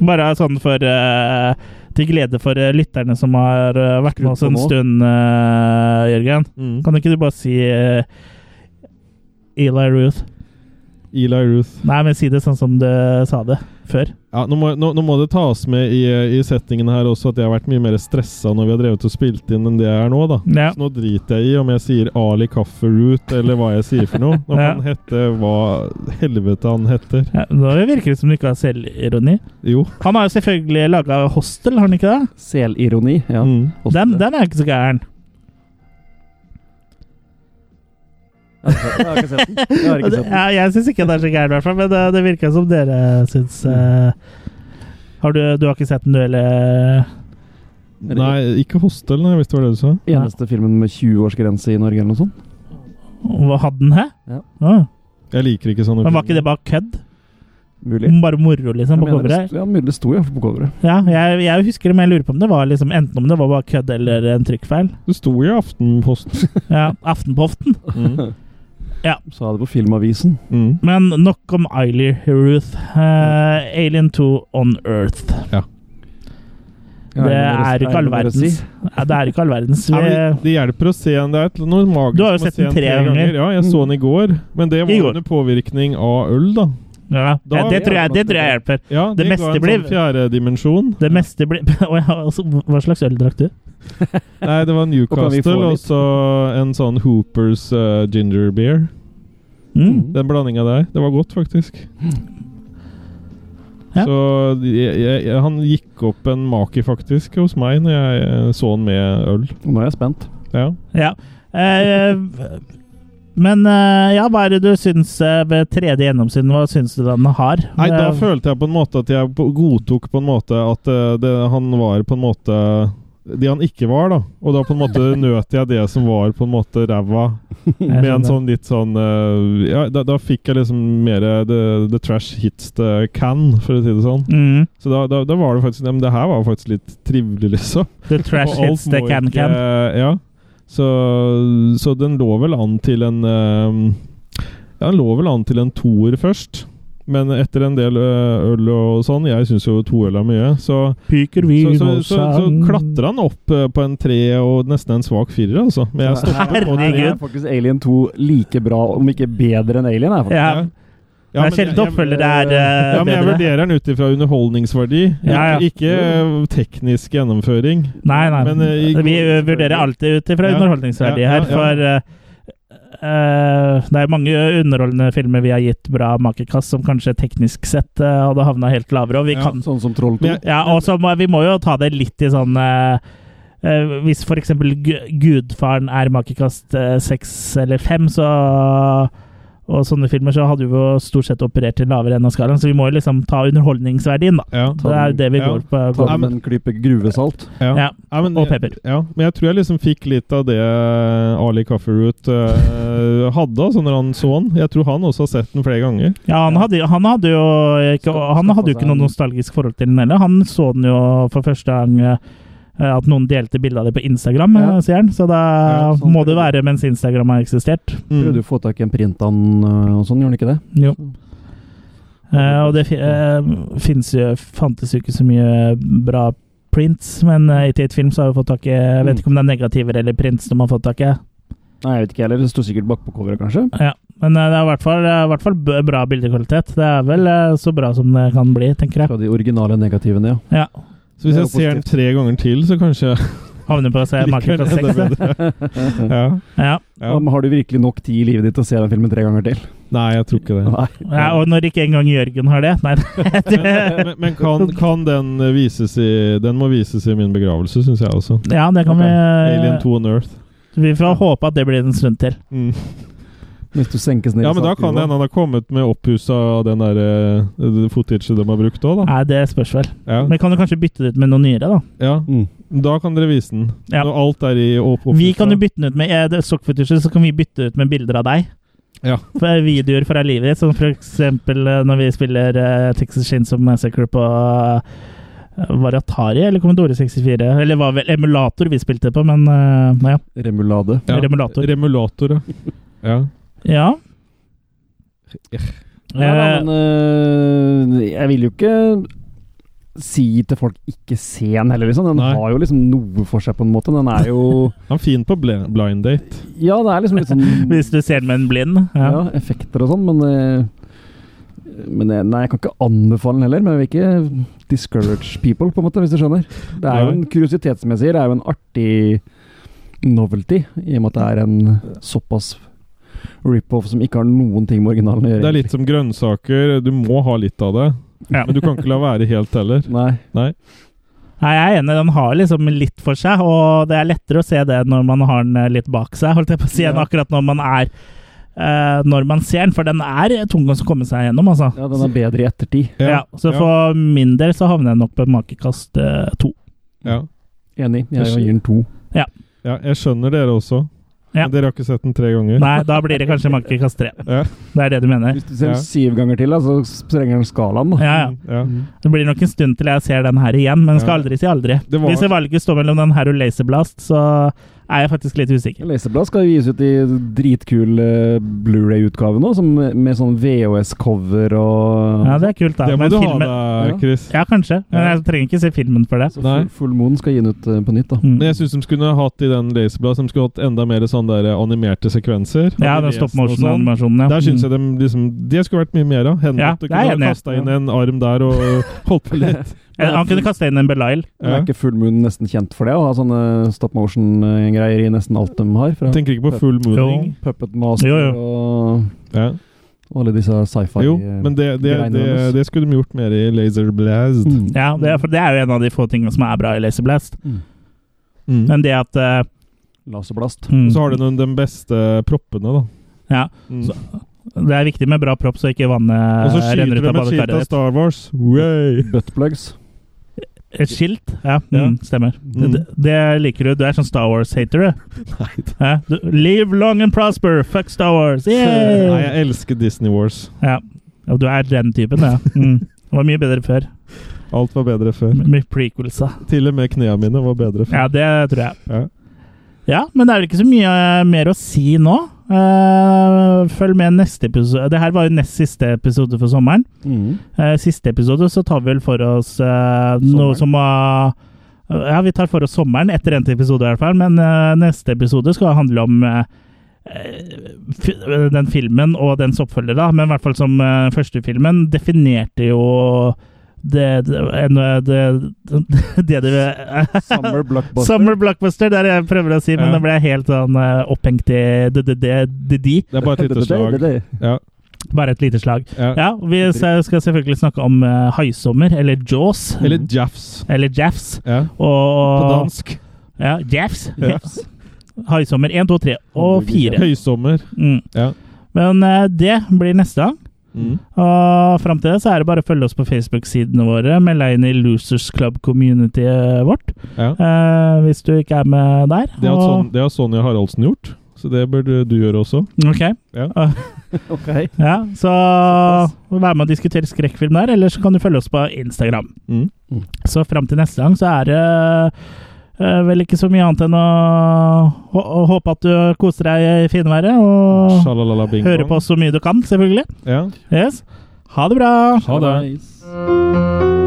S1: Bare sånn for øh, Til glede for øh, lytterne som har øh, vært med oss
S3: Skrudd på
S1: en
S3: nå.
S1: stund, øh, Jørgen.
S2: Mm.
S1: Kan ikke du bare si øh, Eli Ruth?
S2: Eli Ruth.
S1: Nei, men si det sånn som du sa det før.
S2: Ja, nå, må, nå, nå må det tas med i, i settingen her også at jeg har vært mye mer stressa når vi har drevet og spilt inn enn det jeg er nå, da.
S1: Ja.
S2: Så nå driter jeg i om jeg sier Ali Kafferoot eller hva jeg sier for noe. Nå kan
S1: Ja.
S2: han hete hva helvete han heter.
S1: Ja, nå virker det som du ikke har selvironi.
S2: Jo.
S1: Han har jo selvfølgelig laga Hostel, har han ikke det?
S3: Selironi, ja.
S2: Mm.
S3: Hostel.
S1: Den, den er ikke så gæren.
S3: Jeg har ikke sett den. Jeg har ikke sett den.
S1: Ja, jeg syns ikke det er så gæren, i hvert fall, men det, det virker som dere syns
S3: Mm.
S1: eh, har du, du har ikke sett den, du eh, heller?
S2: Nei, ikke Hostel, nei, hvis det var det du sa.
S3: Eneste filmen med 20-årsgrense i Norge eller noe sånt.
S1: Hva hadde den her?
S3: Ja.
S1: Ah,
S2: Jeg liker ikke sånne
S1: men var ikke det bare kødd?
S3: Mulig.
S1: Bare moro, liksom, på
S3: Jeg mener det
S1: coveret?
S3: sto- Ja, mulig det sto iallfall på coveret.
S1: Ja, jeg, jeg husker det, men jeg lurer på om det var liksom enten om det var bare kødd eller en trykkfeil.
S2: Det sto i Aftenposten.
S1: Ja, Aftenpoften.
S2: Mm.
S1: Ja.
S3: Sa det på Filmavisen.
S2: Mm.
S1: Men nok om Eiley Ruth. Eh, Alien 2 on Earth. Det er ikke all verdens. Ja, Det er ikke all verdens. eh,
S2: Ja,
S1: Vi,
S2: men det hjelper å se den. Det er noe magisk
S1: Du har jo
S2: med å
S1: sett
S2: se
S1: den tre ganger. Mm.
S2: Ja, jeg så den i går. Men det
S1: I
S2: var
S1: går.
S2: under påvirkning av øl, da.
S1: ja,
S2: Da-
S1: ja, det, tror jeg, det tror jeg hjelper.
S2: Ja,
S1: Det
S2: det
S1: meste
S2: ga en
S1: blir-
S2: sånn fjerde dimensjon.
S1: Det meste blir Å ja, altså, Hva slags øl drakk du?
S2: Nei, det var
S3: kan vi få
S2: Newcastle og
S3: litt?
S2: så en sånn Hoopers eh, ginger beer.
S1: Mm.
S2: Den blandinga der. Det var godt, faktisk.
S1: Ja.
S2: Så jeg, jeg, jeg, han gikk opp en maki, faktisk, hos meg når jeg eh, så han med øl.
S3: Nå er jeg spent.
S2: Ja.
S1: Ja. Eh, men eh, ja, hva er det du syns eh, ved tredje gjennomsyn? Hva syns du den har?
S2: Nei, da
S1: Eh,
S2: følte jeg på en måte at jeg på- godtok på en måte at eh, det, han var på en måte det han ikke var, da. Og da på en måte nøt jeg det som var på en måte ræva,
S1: jeg
S2: med en
S1: skjønner.
S2: sånn litt sånn eh, Ja, da, da fikk jeg liksom mer eh, the, the trash hits the can, for å si det sånn.
S1: mm.
S2: Så da, da, da var det faktisk ja, Men det her var faktisk litt trivelig, liksom.
S1: The trash
S2: Og alt
S1: hits the
S2: må ikke-
S1: can-can.
S2: Ja. Så, så den lå vel an til en eh, Ja, den lå vel an til en toer først. Men etter en del eh, øl og sånn Jeg syns jo to øl er mye. Så,
S1: Pyker
S2: så,
S1: vin
S2: så,
S1: og
S2: så, så
S1: sang.
S2: klatra han opp eh, på en tre og nesten en svak firer, altså. Men jeg stoppa på
S1: Herregud.
S2: tre.
S3: Her er faktisk Alien 2 like bra, om ikke bedre enn Alien. Her, faktisk.
S1: Ja.
S2: Ja,
S1: det
S2: men
S1: er sjelden
S2: jeg-
S1: oppfølgere er eh,
S2: Ja, men jeg
S1: bedre.
S2: vurderer den ut ifra underholdningsverdi,
S1: Ja, ja.
S2: ikke eh, teknisk gjennomføring.
S1: Nei, nei.
S2: Men, eh, i går-
S1: vi eh, vurderer alltid ut ifra
S2: Ja,
S1: underholdningsverdi
S2: ja, ja,
S1: her, for eh, eh, det er mange underholdende filmer vi har gitt bra makekast, som kanskje teknisk sett eh, hadde havna helt lavere. Og vi
S2: Ja.
S1: kan
S3: Sånn som Troll 2.
S2: Men jeg-
S1: Ja, og så må, vi må jo ta det litt i sånn eh, eh, Hvis for eksempel Gu- Gudfaren er makekast eh, seks eller fem, så og sånne filmer så hadde vi jo stort sett operert til lavere enden av skalaen, så vi må jo liksom ta underholdningsverdien, da.
S2: Ja.
S1: Det er jo det vi
S2: Ja.
S1: går på.
S3: Ta
S1: Går.
S2: Ja,
S3: med
S2: men-
S3: en klype gruvesalt.
S2: Ja.
S1: Ja.
S2: Ja, men, eh,
S1: Og pepper.
S2: Ja, men jeg tror jeg liksom fikk litt av det Ali Kafferut eh, hadde altså, når han så den. Jeg tror han også har sett den flere ganger.
S1: Ja, han hadde, han hadde jo ikke,
S3: Skaffa-
S1: han hadde jo
S3: skaffa
S1: ikke
S3: seg
S1: noe
S3: en-
S1: nostalgisk forhold til den heller. Han så den jo for første gang eh, at noen delte bilde av det på Instagram,
S3: Ja.
S1: eh, sier han. Så da
S2: Ja,
S3: sånn
S1: må
S3: er
S1: det
S3: det.
S1: være mens Instagram har eksistert.
S2: Mm.
S3: Prøvde å få tak i en print av den øh, og sånn, gjorde han ikke det?
S1: Jo. Eh, og det fi- eh, finnes jo, fantes jo ikke så mye bra prints, men eh, i Tate-film så har vi fått tak i Jeg
S3: Mm.
S1: vet ikke om det er negativer eller prints de har fått tak i.
S3: Nei, jeg vet ikke heller. Det sto sikkert bakpå coveret, kanskje.
S1: Ja. Men eh, det er i hvert fall, i hvert fall b- bra bildekvalitet. Det er vel eh, så bra som det kan bli, tenker jeg.
S3: Fra de originale negativene, ja.
S1: Ja.
S2: Så hvis
S3: Det er
S2: jeg ser den tre ganger til, så kanskje jeg
S1: Havner på seg
S2: liker den
S1: makekast
S2: enda
S1: 6. det.
S2: bedre. Ja.
S1: Ja.
S2: Ja.
S3: Men Har du virkelig nok tid i livet ditt til å se den filmen tre ganger til?
S2: Nei, jeg tror ikke det.
S3: Nei.
S1: ja, og når ikke engang Jørgen har det Nei, det,
S2: Men, men kan, kan den vises i Den må vises i min begravelse, syns jeg også.
S1: Ja, det kan
S2: Alien
S1: vi eh,
S2: 2 on Earth.
S1: Vi får håpe at det blir en stund til.
S2: Mm.
S3: Hvis du senkes ned
S2: Ja, men da kan det hende han har kommet med opphuset av den der eh, footage de har brukt òg, da.
S1: Nei, det spørs vel.
S2: Ja.
S1: Men kan du kanskje bytte det ut med noe nyere, da?
S2: ja.
S3: Mm.
S2: Da kan dere vise den.
S1: Ja.
S2: Når alt er i opp
S1: Vi kan jo
S2: opphuset.
S1: bytte den ut med eh, det er stock footage, så kan vi bytte ut med bilder av deg.
S2: Ja.
S1: For eh, Videoer fra livet ditt, som for eksempel eh, når vi spiller eh, Texas Chainsaw Massacre på eh, var det Atari eller Commodore 64? Eller var vel emulator vi spilte på, men eh, ja.
S3: Remulade.
S2: Ja.
S1: Remulator.
S2: Remulator, ja. ja.
S1: ja. Eh,
S3: Ja, da, eh, men øh, jeg vil jo ikke si til folk 'ikke se den' heller, liksom. Den
S2: Nei.
S3: har jo liksom noe for seg, på en måte. Den er jo
S2: Han er fin på bl blind date.
S3: Ja, det er liksom litt
S1: Eh,
S3: sånn
S1: hvis du ser den med en blind.
S3: ja.
S1: Ja.
S3: effekter og sånn, men øh, men jeg- nei, jeg kan ikke anbefale den heller, men jeg vil ikke discourage people, på en måte, hvis du skjønner. Det er jo en kuriositet, som jeg sier. Det er jo en artig novelty, i og med at det er en såpass rip-off som ikke har noen ting med originalen å gjøre.
S2: Det er litt som grønnsaker. Du må ha litt av det.
S1: Ja.
S2: Men du kan ikke la være helt heller.
S3: egentlig. Nei.
S1: Nei, jeg er enig, den har liksom litt for seg, og det er lettere å se det når man har den eh, litt bak seg, holdt jeg på å si, enn
S3: Ja.
S1: akkurat når man er eh, når man ser den, for den er tung å komme seg gjennom, altså.
S3: Ja, den er bedre i ettertid.
S1: Ja, så
S2: ja,
S1: for min del så havner jeg nok på makekast eh, to.
S2: ja.
S3: Enig. Jeg gir den to.
S2: ja, jeg skjønner dere også.
S1: Ja.
S2: Men dere har ikke sett den tre ganger.
S1: Nei, da blir det kanskje makekast tre.
S2: Ja.
S1: Det er det du mener.
S3: Hvis du ser
S2: Ja.
S3: syv ganger til, da, så sprenger den skalaen. Da.
S1: Ja, ja.
S2: Ja.
S1: Det blir nok en stund til jeg ser den her igjen, men skal
S2: Ja.
S1: aldri si aldri.
S2: Det var-
S1: Hvis valget står mellom den her og Laserblast, så er jeg faktisk litt usikker.
S3: Leseblad skal jo gis ut i dritkul eh, Blu-ray-utgave nå, som, med sånn VHS-cover og
S1: Ja, det er kult, da.
S2: Det må
S1: Men
S2: du
S1: filmen-
S2: ha
S3: Ja.
S2: deg, Chris.
S1: Ja, kanskje. Men jeg trenger ikke se filmen for det.
S3: Så
S2: Nei.
S3: Full, full Moon skal gi den ut eh, på nytt, da.
S1: Mm.
S2: Men jeg syns de skulle hatt i den Laserblad som skulle hatt enda mer sånn der animerte sekvenser.
S1: Ja,
S2: Animesen
S1: den stop
S2: og sånn.
S1: motion-animasjonen, ja.
S2: Der syns jeg de, liksom, det skulle vært mye mer av. Henrik
S1: Ja,
S2: du
S1: det er jeg enig
S2: kunne
S1: i.
S2: kasta inn en arm der og holdt på litt.
S1: Ja, Mm. Han kunne kaste inn en Belial.
S3: Er
S2: Ja.
S3: ikke Full Moon nesten kjent for det? Å ha sånne stop motion-greier i nesten alt de har? Fra
S2: Jeg tenker ikke på full mooning.
S3: Puppet Master
S1: Jo, jo.
S3: Og,
S2: Ja.
S3: og alle disse sci-fi
S2: Jo,
S1: eh,
S2: men det, det,
S3: greiene
S2: det,
S3: hennes.
S2: det skulle de gjort mer i Laserblast.
S3: Mm.
S1: Ja, det er, for det er jo en av de få tingene som er bra i Laser Blast.
S2: Mm.
S1: Men det at eh,
S3: Laserblast.
S1: mm,
S2: Og så har de noen, de beste proppene, da.
S1: Ja.
S2: Mm.
S1: Så- Eh, Det er viktig med bra propp, så ikke vannet
S2: Og så
S1: renner
S2: skyter
S1: ut
S2: de
S1: av
S2: et skilt
S1: badekaret.
S2: av Star Wars. Way.
S3: Buttplugs.
S1: ditt. Et skilt? Ja,
S2: Ja.
S1: Mm, stemmer.
S2: Mm.
S1: Det, det liker du. Du er sånn Star Wars-hater, du. Hæ? du. Live long and prosper! Fuck Star Wars! Yay!
S2: Nei, jeg elsker Disney Wars.
S1: Ja. ja, du er den typen, ja. Mm. Det var mye bedre før.
S2: Alt var bedre før.
S1: Med prequelsa.
S2: Til og med knærne mine var bedre før.
S1: Ja, det tror jeg.
S2: Ja.
S1: Ja, men det er vel ikke så mye eh, mer å si nå. Eh, følg med neste episode. Det her var jo nest siste episode for sommeren.
S3: Mm.
S1: Eh, siste episode så tar vi vel for oss eh, noe
S3: Sommeren.
S1: som var eh, Ja, vi tar for oss sommeren etter endt episode, i hvert fall. Men eh, neste episode skal handle om eh, eh, fi- den filmen og dens oppfølger, da. Men i hvert fall som eh, første filmen definerte jo det det, en- eh, det, det, det
S3: Summer Blockbuster.
S1: Summer blockbuster, det er det jeg prøver å si, men
S2: Ja.
S1: nå ble jeg helt sånn eh, opphengt i det, det, det, det, de.
S2: Det er bare et lite
S3: Det-
S2: slag.
S3: det- det-
S2: Ja.
S1: Bare et lite slag.
S2: Ja.
S1: Ja, vi s- eh, skal selvfølgelig snakke om eh, haisommer, eller jaws,
S2: Eller Jaffs.
S1: eller jafs,
S2: Ja.
S1: og
S2: På dansk.
S1: Ja, jafs.
S2: Ja.
S1: jafs. Haisommer 1, 2, 3 og 4.
S2: Høysommer.
S1: Mm.
S2: Ja.
S1: Men eh, det blir neste gang.
S2: Mm.
S1: Og fram til det så er det bare å følge oss på Facebook-sidene våre. Meld deg inn i Losers Club-communityet vårt
S2: Ja.
S1: eh, hvis du ikke er med der.
S2: Det har,
S1: Og-
S2: sånn, det har Sonja Haraldsen gjort, så det bør du, du gjøre også.
S1: Ok.
S2: Ja.
S1: Ah,
S3: Ok.
S1: ja, så vær med og diskutere skrekkfilm der, eller så kan du følge oss på Instagram.
S2: Mm.
S1: Så fram til neste gang så er det eh, vel ikke så mye annet enn å, å, å håpe at du koser deg i finværet, og
S2: Shalalala bing
S1: høre
S2: bong.
S1: på oss så mye du kan, selvfølgelig.
S2: Ja.
S1: Yes. Ha det bra!
S2: Ha det.
S3: Nice.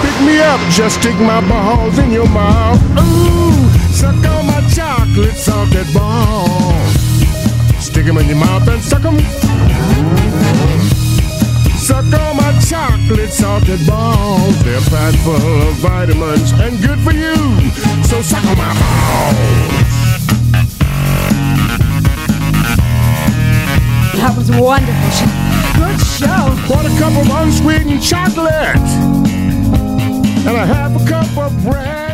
S7: Pick me up, just stick my balls in your mouth. Ooh, suck on my chocolate salted balls. Stick 'em in your mouth and suck 'em. Suck on my chocolate salted balls. They're packed full of vitamins and good for you. So suck on my balls.
S8: That was wonderful. Good show.
S7: Want a cup of unsweetened chocolate and a half a cup of bread.